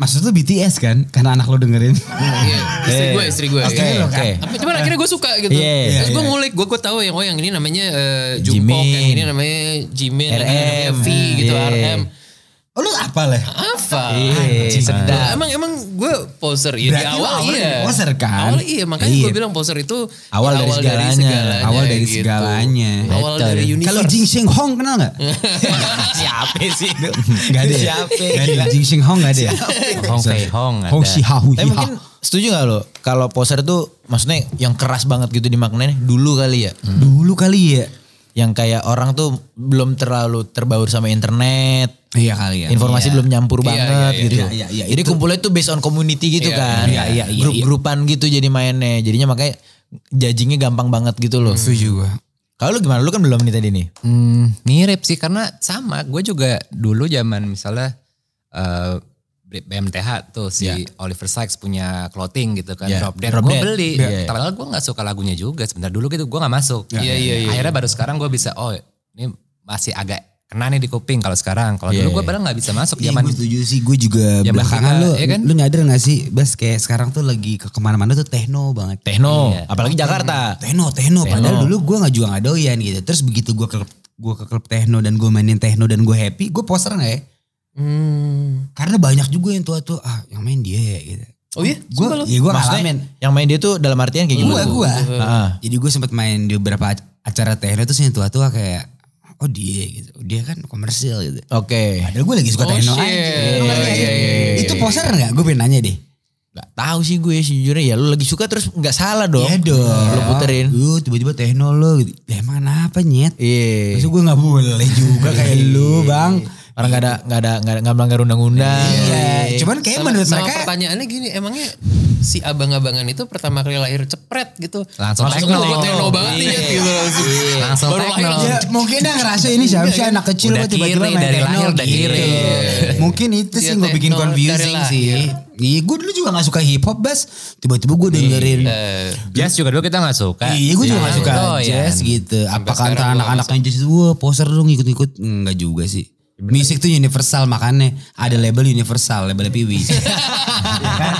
B: Maksud lu BTS kan? Karena anak lu dengerin.
D: Iya istri
A: Eh.
D: gue istri gue.
A: oke
D: iya.
A: oke
D: Tapi cuman akhirnya gue suka gitu.
A: Iya, iya,
D: Terus gue
B: iya.
D: ngulik, gue gue tahu yang oh yang ini namanya eh, Jumpok, yang
A: Jimin.
D: ini namanya Jimin, yang ini namanya
A: RM,
D: V gitu,
A: iya.
D: RM.
B: oh, lu apa lah?
D: Apa?
A: Iya, sedap.
D: Nah, emang emang gue poser ya di
B: Berarti lo
D: awal
B: awalnya
D: iya.
B: jadi poser, kan?
D: Awal iya makanya
B: Iya.
D: gue bilang poser itu ya
A: Awal dari segalanya,
B: awal dari
D: gitu.
B: segalanya.
D: Awal
A: Betul.
D: dari universe.
B: Kalau Jing Sheng Hong kenal gak?
A: siapa sih
B: Gak ada ya?
A: siapa
B: Gak ada ya? Jing Sheng Hong gak ada ya?
C: Hong Fei Hong ada.
B: Hong Si Ha Hu
A: tapi
B: Hi Ha.
A: mungkin setuju gak lo kalau poser tuh maksudnya yang keras banget gitu dimaknanya dulu kali ya
B: Dulu kali ya.
A: yang kayak orang tuh belum terlalu terbaur sama internet
B: Iya kali ya.
A: informasi belum nyampur
D: Iya,
A: banget
D: iya, iya.
A: gitu.
B: Iya, iya, iya,
A: jadi kumpulnya tuh based on community gitu
D: Iya,
A: kan.
B: iya, iya, iya,
A: Grup-grupan gitu jadi mainnya. Jadinya makanya judgingnya gampang banget gitu loh.
B: Setuju gue.
A: Kalau lu gimana? Lu kan belum nih tadi nih.
C: Hmm, mirip sih karena sama. Gue juga dulu zaman misalnya eh, BMTH tuh
B: Ya.
C: si Oliver Sykes punya clothing gitu kan
A: Ya,
C: drop dead.
A: Drop
C: Gue
A: Dead.
C: beli.
A: Ya, ya.
C: Padahal gue nggak suka lagunya juga. Sebentar dulu gitu gue nggak masuk.
B: Ya,
D: Iya, iya, iya.
C: Akhirnya baru sekarang gue bisa oh ini masih agak kena nih di kuping kalau sekarang. Kalau
A: Iya,
C: dulu gue
A: iya.
C: padahal nggak bisa masuk
B: Ya, Iya
C: zaman
B: gue setuju sih, gue juga
C: Zaman
B: belakangan
C: kita,
B: lu,
C: ya kan?
B: lu nyadar gak sih, Bas kayak sekarang tuh lagi ke kemana-mana tuh techno banget.
A: Techno,
C: Iya.
A: apalagi Jakarta.
B: Techno, techno. Padahal
A: Techno.
B: dulu gue nggak juga nggak doyan gitu. Terus begitu gue ke gue ke klub techno dan gue mainin techno dan gue happy, gue poster nggak ya?
D: Hmm.
B: Karena banyak juga yang tua tuh ah yang main dia ya gitu.
D: Oh iya,
B: Gue,
D: Sumpah lu.
B: ya gue
A: Maksudnya
B: ngalamin.
A: yang main dia tuh dalam artian kayak
B: Gue,
A: gimana? Ah,
B: gue.
A: Heeh.
B: Jadi gue sempat main di beberapa ac- acara techno terus yang tua-tua kayak oh dia gitu, dia kan komersil gitu.
A: Oke.
B: Padahal gue lagi suka
D: Oh,
B: techno
D: shit.
B: aja. Lu ngerti nggak sih?
D: Iya, iya, iya,
B: Itu poster nggak? Gue pengen nanya deh.
A: Gak tahu sih gue sejujurnya ya lu lagi suka terus nggak salah dong. Nah,
B: Iya dong.
A: Lu puterin.
B: Lu tiba-tiba techno lu gitu. Ya emang kenapa nyet?
A: Iya.
B: Maksud gue gak boleh juga kayak
D: Iya.
B: lu bang.
A: Orang nggak ada nggak ada nggak ada- nggak melanggar undang-undang.
B: Iya. Cuman kayak
D: Sama,
B: menurut
D: sama
B: mereka.
D: pertanyaannya gini, emangnya si abang-abangan itu pertama kali lahir cepret gitu.
C: Langsung
D: Maksudnya
C: techno.
D: gue techno banget nih
B: Iya.
D: Nyet, gitu langsung.
C: langsung
D: Baru lahir
C: techno.
B: Ya mungkin dia ngerasa ini siapa sih anak kecil
C: Udah
B: kok tiba-tiba
C: kiri,
B: main
C: dari
B: techno
C: lahir udah
B: gitu.
C: kiri.
B: Mungkin itu sih
D: Iya,
B: gue bikin
D: techno dari
B: confusing
D: lahir.
B: sih. Iya gue dulu juga gak suka hip hop bas. Tiba-tiba gue dengerin.
C: Jazz juga dulu kita nggak suka.
B: Iya gue juga gak suka
C: Doyan.
B: jazz gitu. Apakah
D: sekarang
B: antara
D: gua
B: anak-anak yang jazz itu wah poser dong ikut-ikut. Enggak juga sih. Musik tuh universal makanya ada label universal, label Piwi. kan?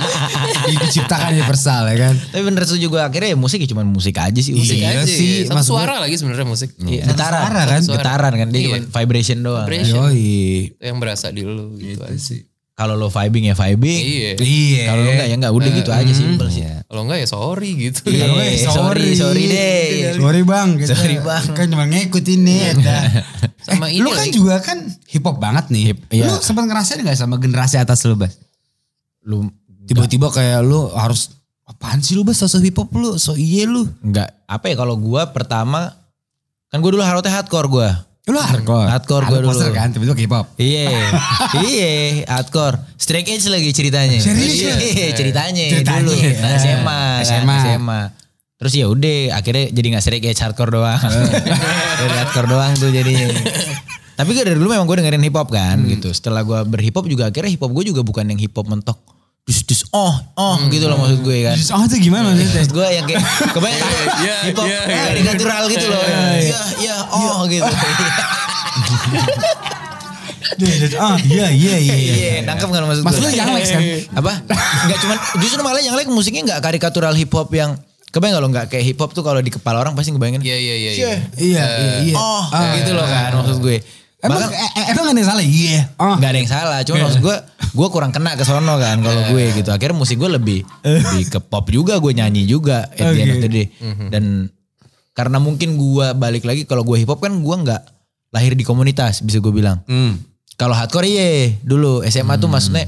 B: Diciptakan universal ya kan.
A: Tapi bener setuju gue akhirnya ya musik ya cuman musik aja sih. Musik
D: Musik
B: Iya
D: aja
B: sih,
D: sih. Sama
B: maksud gue-
D: suara lagi sebenarnya musik.
A: Iya, getaran
B: suara kan?
D: Iya.
A: getaran kan dia cuma vibration doang.
D: Vibration.
B: Yoi.
D: Yang berasa di lu gitu aja.
B: Iya sih.
A: Kalau lo vibing ya vibing.
D: Iya.
B: Iya.
A: Kalau lo enggak ya enggak. Udah gitu aja simple sih.
D: Kalau enggak ya sorry gitu.
A: Iya.
B: Kalau enggak, ya
A: Eh, sorry, sorry deh.
B: Sorry bang. Kita
A: Sorry, Bang.
B: Kan cuma ngikut ini. eta.
D: Sama ini
B: eh,
D: ya,
B: lu kan
D: lagi.
B: juga kan hip hop banget nih.
A: Hip- iya.
B: Lu sempat ngerasain gak sama generasi atas lu Bas?
A: Lu
B: Tiba-tiba kayak lu harus apaan sih lu Bas sosok hip hop lu? So iye lu.
A: enggak apa ya kalau gua pertama kan gua dulu harusnya hardcore gua.
B: Lu hardcore.
A: Hardcore
B: Ada
A: gua dulu.
B: poster kan tiba-tiba hip hop.
A: Iya, iya, hardcore. Straight edge lagi ceritanya.
B: Serius
A: Iya,
B: lu?
A: iya, ceritanya,
B: Ceritanya,
A: dulu.
B: iya.
A: Nah, SMA,
B: SMA.
A: SMA. SMA. Terus ya udah, akhirnya jadi nggak straight edge hardcore doang. Dari hardcore doang tuh jadinya. Tapi gue dari dulu memang gue dengerin hip hop kan gitu. Setelah gue berhip hop juga akhirnya hip hop gue juga bukan yang hip hop mentok. Dus dus oh oh gitu loh maksud gue kan.
B: Oh itu gimana maksudnya?
A: Maksud gue yang kayak kebanyakan
D: iya,
A: hip hop
D: iya,
A: yeah,
D: iya.
A: karikatural gitu loh. Iya iya oh gitu.
B: Ah iya iya iya.
A: Iya, nangkep kan maksud
B: Maksud
A: gue.
B: lu yang Lex kan?
A: apa nggak cuman justru malah yang lain musiknya nggak karikatural hip hop yang kebayang kalau nggak kayak hip hop tuh kalau di kepala orang pasti ngebayangin
D: Iya iya iya. iya.
A: "Syeh,
B: Iya iya iya.
A: oh gitu loh kan maksud gue
B: Emang,
A: bahkan
B: eh, emang ada yang salah? Iya. Oh.
A: nggak ada yang salah cuma maksud gue gue kurang kena ke sono kan kalau gue
B: Iya.
A: gitu akhirnya musik gue lebih lebih ke pop juga gue nyanyi juga at the
B: Oh,
A: end of
B: gitu.
A: the day.
B: Mhm.
A: dan karena mungkin gue balik lagi kalau gue hip hop kan gue nggak lahir di komunitas bisa gue bilang
B: Hmm.
A: kalau hardcore iya dulu SMA tuh maksudnya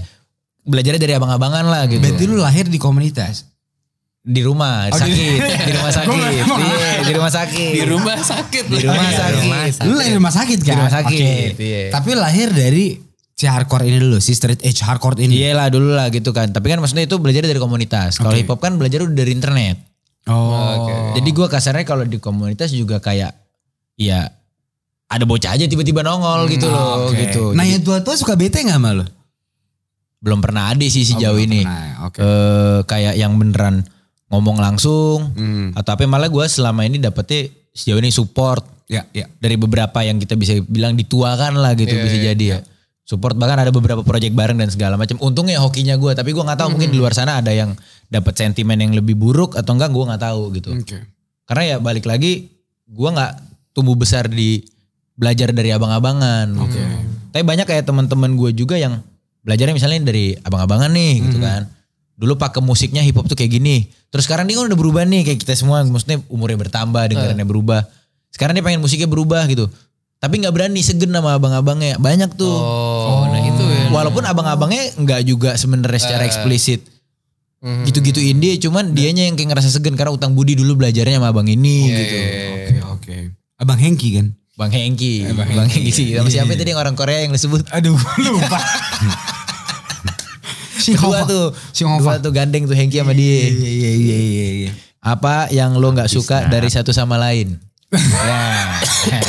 A: belajarnya dari abang-abangan lah gitu
B: Berarti lu lahir di komunitas.
A: di rumah
B: Oh,
A: sakit
B: di-
A: di rumah sakit
B: Gua nggak-
A: Iya, di rumah sakit
D: Di rumah sakit. Iya. Oh,
A: di rumah sakit
B: Lu lahir di rumah sakit kan?
A: Di rumah sakit,
B: Oke.
A: iya.
B: Tapi lahir dari si hardcore ini dulu, si street edge hardcore ini.
A: iya lah dulu lah gitu kan tapi kan maksudnya itu belajar dari komunitas kalau hip hop kan belajar udah dari internet
B: Oh.
A: jadi gua kasarnya kalau di komunitas juga kayak ya ada bocah aja tiba-tiba nongol gitu loh
B: Oke.
A: gitu
B: Nah
A: Jadi
B: yang tua-tua suka bete gak sama lu?
A: belum pernah ada sih sejauh ini
B: Nah oke.
A: Eh, kayak yang beneran ngomong langsung
B: Hmm.
A: atau apa malah gua selama ini dapetnya sejauh ini support
B: Ya, ya. Iya,
A: dari beberapa yang kita bisa bilang dituakan lah gitu bisa jadi ya. Support bahkan ada beberapa project bareng dan segala macam. Untungnya hokinya gue, tapi gue nggak tahu mungkin di
B: Hmm.
A: luar sana ada yang dapat sentimen yang lebih buruk atau enggak gue nggak tahu gitu.
B: Oke.
A: Karena ya balik lagi gue nggak tumbuh besar di belajar dari abang-abangan. Oke. Tapi banyak kayak teman-teman gue juga yang belajarnya misalnya dari abang-abangan nih gitu
D: Hmm.
A: kan. Dulu pakai musiknya hip hop tuh kayak gini. Terus sekarang dia kan udah berubah nih kayak kita semua maksudnya umurnya bertambah,
D: Eh.
A: dengarannya berubah. Sekarang dia pengen musiknya berubah gitu. Tapi nggak berani segen sama abang-abangnya. Banyak tuh.
D: Oh, nah itu ya. Eh.
A: Walaupun abang-abangnya nggak juga sebenarnya secara eksplisit
D: Mhm.
A: gitu-gituin dia, cuman dianya yang kayak ngerasa segen karena utang budi dulu belajarnya sama abang ini
B: Iya,
A: gitu.
B: Oke, oke. Abang Hengki kan?
A: Bang Hengki, Bang, Hengki sih. Sama
B: Iya,
A: siapa tadi yang orang Korea yang disebut?
B: Aduh, lupa. si
A: Dua tuh,
B: Si
A: dua
B: Hova.
A: tuh gandeng tuh Hengki sama dia.
B: Iya, iya, iya, iya, iya.
A: Apa yang lo nggak suka dari satu sama lain? ya.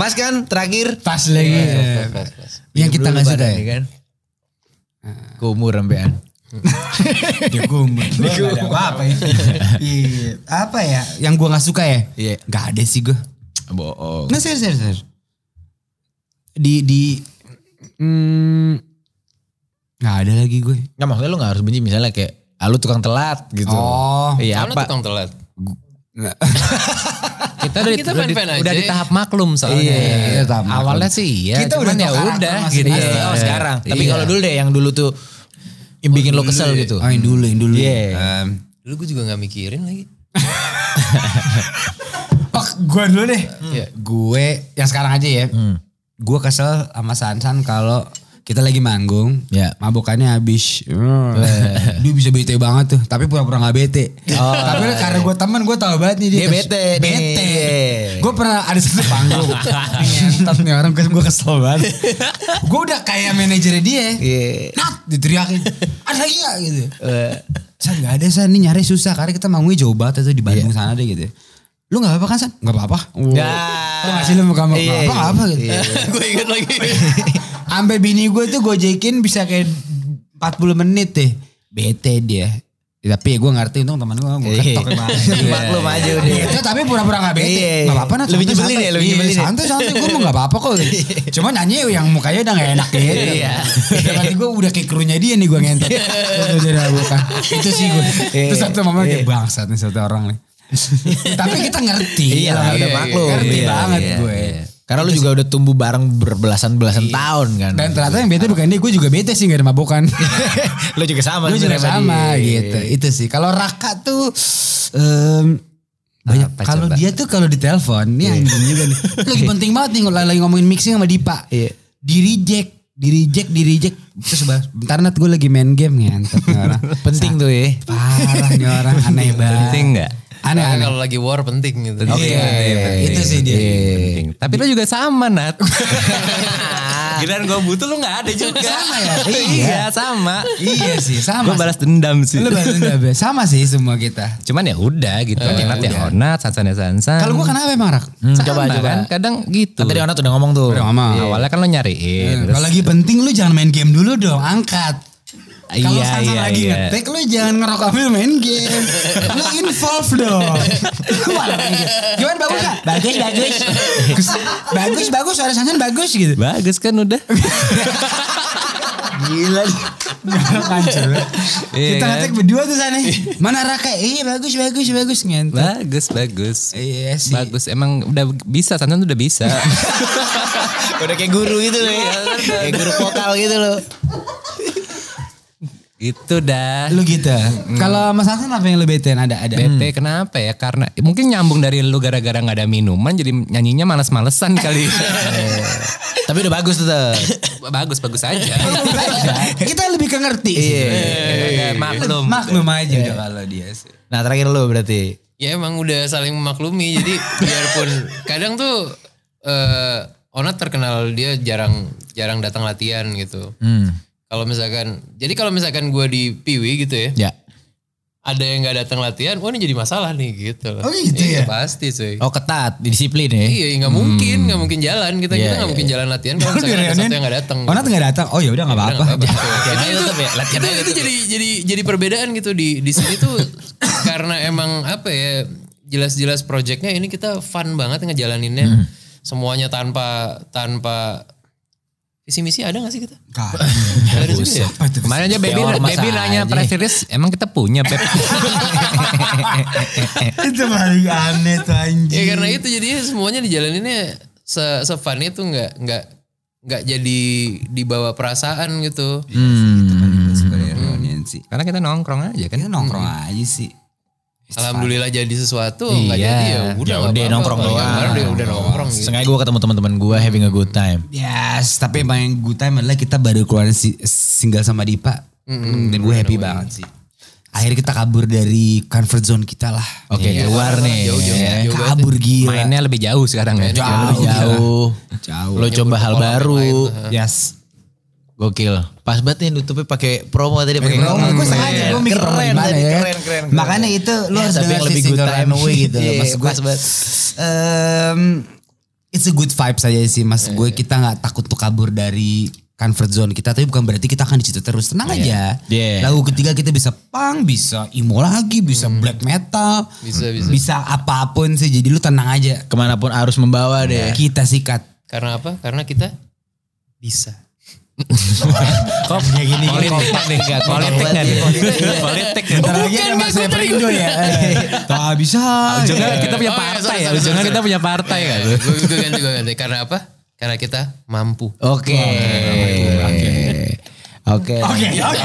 A: Pas kan terakhir
B: Pas lagi.
A: Iya,
D: Pas, pas, pas.
B: Yang kita
A: Dulu
B: gak suka
A: badan
B: ya? Ah.
A: nih kan. Kumur sampean.
B: Dikumur. Gua nggak ada apa-apa ya. Iya. Apa ya? Yang gua nggak suka ya?
A: Iya.
B: Gak ada sih gua.
A: Bohong.
B: Nggak serius, serius, serius. Di, di... Hmm, gak ada lagi gue.
A: Nggak maksudnya lo nggak harus benci misalnya kayak ah, lu tukang telat gitu.
B: Oh.
A: Iya
D: Kamu
A: apa?
D: tukang telat.
C: Kita
D: Kan
C: udah,
D: kita
C: udah, di,
D: fan-fan aja.
C: udah di tahap maklum soalnya.
B: Iya, iya, tahap maklum.
C: Awalnya sih iya.
B: Kita
C: cuman
B: udah
C: ya
B: tahu
C: udah
B: karakter
C: gitu.
B: masing-masing.
C: ya.
A: Oh sekarang. Tapi
C: Iya.
A: kalau dulu deh yang dulu tuh yang bikin lo kesel gitu.
B: Oh, yang dulu, yang dulu.
A: Iya.
B: Em,
D: Dulu gue juga gak mikirin lagi.
B: oh, gue dulu deh.
D: Iya.
B: Gue yang sekarang aja ya. Gue kesel sama Sansan kalau kita lagi manggung,
A: Ya.
B: mabukannya habis. Dia bisa bete banget tuh, tapi pura-pura gak bete. tapi karena gue teman, gue tau banget nih dia.
A: Dia bete nih.
B: Bete.
A: Iya.
B: Gue pernah ada satu panggung. Ngentot nih orang, gue kesel banget. gue udah kayak manajernya dia.
A: Iya.
B: Nat diteriakin. Ada iya gitu.
A: Eh,
B: San gak ada San, ini nyari susah karena kita manggungnya jauh banget itu
A: Iya.
B: di Bandung sana deh gitu. Lu gak apa-apa kan San? Gak apa-apa. Wow.
A: Ya.
B: Lu ngasih lu muka muka
A: Iya,
B: apa
A: iya.
B: apa gitu.
D: gue inget lagi.
B: Sampai bini gue tuh gojekin bisa kayak 40 menit deh. Bete dia. Ya, tapi ya gue ngerti untung teman gue gue
A: Iya.
B: ketok
A: Iya. Maklum aja udah.
B: Itu tapi pura-pura gak bete.
A: Iya, iya.
B: Gak apa-apa Nat.
A: Lebih
B: santai,
A: nyebelin
B: santai.
A: ya, lebih
B: Iya,
A: nyebelin ya. Iya.
B: Santai santai gue mau gak apa-apa kok. gitu. Cuman nyanyi yang mukanya udah gak enak gitu. Iya. Berarti gue udah kayak krunya dia nih gue ngentot. Udah, udah, udah, bukan. Itu sih gue.
A: Iya,
B: Terus satu momen kayak bangsat nih satu orang nih. tapi kita ngerti.
A: Iya lah, udah maklum.
B: Ngerti
A: Iya,
B: banget
A: iya,
B: gue.
A: iya. Karena lu juga udah tumbuh bareng berbelasan-belasan tahun kan.
B: Dan ternyata yang bete bukan dia, gue juga bete sih gak ada mabukan.
A: lu juga sama. Iya,
B: Gue juga
A: sebenarnya,
B: sama
A: Fadi.
B: gitu. Itu sih. Kalau Raka tuh em, banyak
C: Apa
B: kalau
C: coba? Iya.
B: dia tuh kalau ditelepon nih anjing juga nih. Lagi penting banget nih lagi lagi ngomongin mixing sama Dipa.
A: Iya.
B: Di reject, di reject, di reject. Terus bah, bentar nat gue lagi main game ngentot nih orang.
A: Penting tuh ya.
B: Parah nih orang aneh banget.
C: Penting nggak?
B: Aneh
D: Karena
B: aneh.
D: kalau lagi war penting gitu.
C: ya,
B: Iya, itu sih
C: Iya,
B: dia.
C: Penting. Tapi lu juga sama Nat. Giliran gue butuh lu gak ada juga.
B: Sama ya?
C: iya sama.
B: Iya sih, sama.
C: Gue balas dendam sih.
B: Lu balas dendam ya? sama sih semua kita.
C: Cuman ya udah gitu. Nat ya Onat, Sansan ya Sansan.
B: Kalau gue kenapa emang Rak?
C: Sama
A: coba, coba.
C: kan kadang gitu.
A: Kan tadi Onat udah ngomong tuh.
B: Udah ngomong.
C: Iya. Awalnya kan lo nyariin.
B: Eh,
C: terus-
B: Kalau lagi penting lu jangan main game dulu dong, angkat. Kalau
C: Iya,
B: Sansan
C: iya,
B: lagi
C: iya.
B: ngetik lu jangan ngerokok ambil main game. lu involve dong. Lu malah main game. Gimana bagus gak? Bagus, bagus. bagus, bagus. Suara Sansan bagus gitu.
C: Bagus kan udah.
B: Gila. Hancur.
C: Iya
B: Kita
C: kan?
B: ngetik berdua tuh sana. Mana Raka? Iya bagus, bagus, bagus. Ngentot.
C: bagus, bagus.
B: Iya sih.
C: Bagus emang udah bisa Sansan udah bisa.
A: Udah kayak guru gitu loh ya. kayak guru vokal gitu loh.
C: itu dah.
B: Lu gitu.
C: Hmm.
B: Kalau Mas Sansan apa yang lu betein? Ada, ada.
C: Bete kenapa ya? Karena mungkin nyambung dari lu gara-gara nggak ada minuman jadi nyanyinya malas-malesan kali.
A: Tapi udah bagus tuh. Tet.
C: bagus bagus aja.
B: Iya, Kita lebih ke ngerti. sih.
C: Iya, maklum.
B: Maklum aja udah kalau dia sih.
A: Nah terakhir lu berarti.
D: Ya emang udah saling memaklumi. jadi biarpun kadang tuh eh Onat terkenal dia jarang jarang datang latihan gitu.
A: Hmm.
D: Kalau misalkan, jadi kalau misalkan gue di Piwi gitu ya,
A: Ya.
D: ada yang nggak datang latihan, wah ini jadi masalah nih gitu. loh.
B: Oh, gitu
D: Iya,
B: ya?
D: Pasti cuy.
A: Oh ketat, disiplin ya.
D: Iya, nggak mungkin, nggak mungkin jalan kita
A: Iya,
D: kita nggak mungkin jalan latihan kalau
B: Lu
D: misalkan ada
B: direonin,
D: satu yang nggak Iya, datang.
B: Onat nggak datang. Oh ya udah nggak apa-apa.
D: Nggak apa-apa. Itu-
A: tetep ya,
D: itu,
A: latihan
D: itu, itu jadi jadi jadi perbedaan gitu di di sini tuh karena emang apa ya jelas-jelas projectnya ini kita fun banget ngejalaninnya
A: Hmm.
D: semuanya tanpa tanpa visi misi ada nggak sih kita?
B: Nggak.
D: Nggak ada juga ya?
B: Apa itu?
C: Kemarin aja Baby,
A: Teor masa
C: baby nanya
A: aja.
C: press release, emang kita punya Beb.
B: itu paling aneh tuh
D: Ya
B: anjing.
D: karena
C: Hmm.
D: itu jadinya semuanya dijalaninnya se sefun itu nggak nggak nggak jadi dibawa perasaan gitu.
B: Hmm. Sebenarnya reunian sih.
C: Karena kita nongkrong aja kan.
B: Kita nongkrong aja sih.
D: Alhamdulillah jadi sesuatu nggak
C: Iya.
D: jadi ya
A: Ya
D: udah nggak
A: udah,
D: apa-apa.
A: nongkrong
D: Kalau
A: doang.
D: yang kemarin Udah, udah nongkrong gitu.
A: Sengaja gue ketemu teman-teman gue having a good time.
B: Yes, tapi emang yang good time adalah kita baru keluarin si- single sama Dipa. Dan gue happy banget sih. Akhirnya kita kabur dari comfort zone kita lah.
A: Oke keluar nih. ya.
B: Eh, kabur gila.
C: Mainnya lebih jauh sekarang ya.
A: Jauh, lebih jauh.
B: iya. Jauh.
A: Lo coba hal baru.
B: Yes.
A: Gokil. Pas banget nih nutupnya pakai promo tadi. Pakai
B: Bro, gue sengaja gue mikir promo
A: keren,
B: gimana
A: tadi,
B: ya.
A: keren, keren, keren.
B: Makanya itu lu
A: Ya,
B: harus
A: tapi
B: dengar
A: yang
B: si
A: lebih
B: single
A: good time.
B: runaway gitu. loh.
A: Iya,
B: Mas gue,
A: pas banget.
B: em, it's a good vibe saja sih mas
A: Iya,
B: gue. Kita nggak takut tuh kabur dari comfort zone kita. Tapi bukan berarti kita akan di situ terus. Tenang aja.
A: Iya. Hmm.
B: Lagu ketiga kita bisa punk, bisa emo lagi, bisa black metal.
C: Hmm.
D: Bisa, bisa.
B: Bisa apapun sih. Jadi lu tenang aja.
A: Kemanapun arus membawa deh.
B: Kita sikat.
D: Karena apa? Karena kita bisa.
C: Kok
B: gini,
C: politik nih, nggak? politik nggak nih? Politik ya.
B: Bentar lagi ada Mas Perindo ya. Eh, Tak bisa.
C: Jangan kita punya
D: Oh, iya,
C: partai
D: sorry,
C: ya.
D: sorry,
C: Jangan
D: sorry.
C: kita punya partai kan.
D: gue gue ganti gue ganti. Karena apa? Karena kita mampu.
A: Oke. Oke.
B: Iya. Oke, oke.
A: Oke, oke,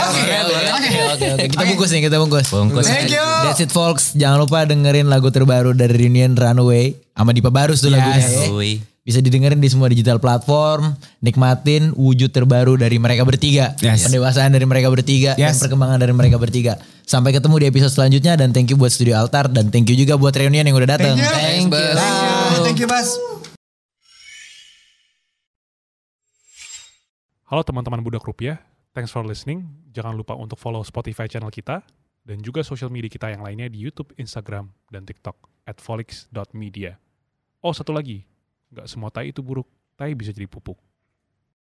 A: oke, oke, oke. Kita bungkus nih, kita bungkus.
C: Bungkus.
B: Thank you.
A: That's it folks. Jangan lupa dengerin lagu terbaru dari Reunion Runaway sama Dipa Barus tuh lagunya.
B: Oh,
A: ya.
C: Ui.
A: Bisa didengerin di semua digital platform. Nikmatin wujud terbaru dari mereka bertiga.
B: Yes.
A: Pendewasaan dari mereka bertiga.
B: Yes.
A: Dan perkembangan dari mereka bertiga. Sampai ketemu di episode selanjutnya. Dan thank you buat Studio Altar. Dan thank you juga buat Reunion yang udah datang.
D: Thanks, Bas.
B: Thank you, Mas.
E: Halo teman-teman Budak Rupiah, thanks for listening. Jangan lupa untuk follow Spotify channel kita dan juga social media kita yang lainnya di YouTube, Instagram, dan TikTok at folix.media. Oh, satu lagi, nggak semua tai itu buruk, tai bisa jadi pupuk.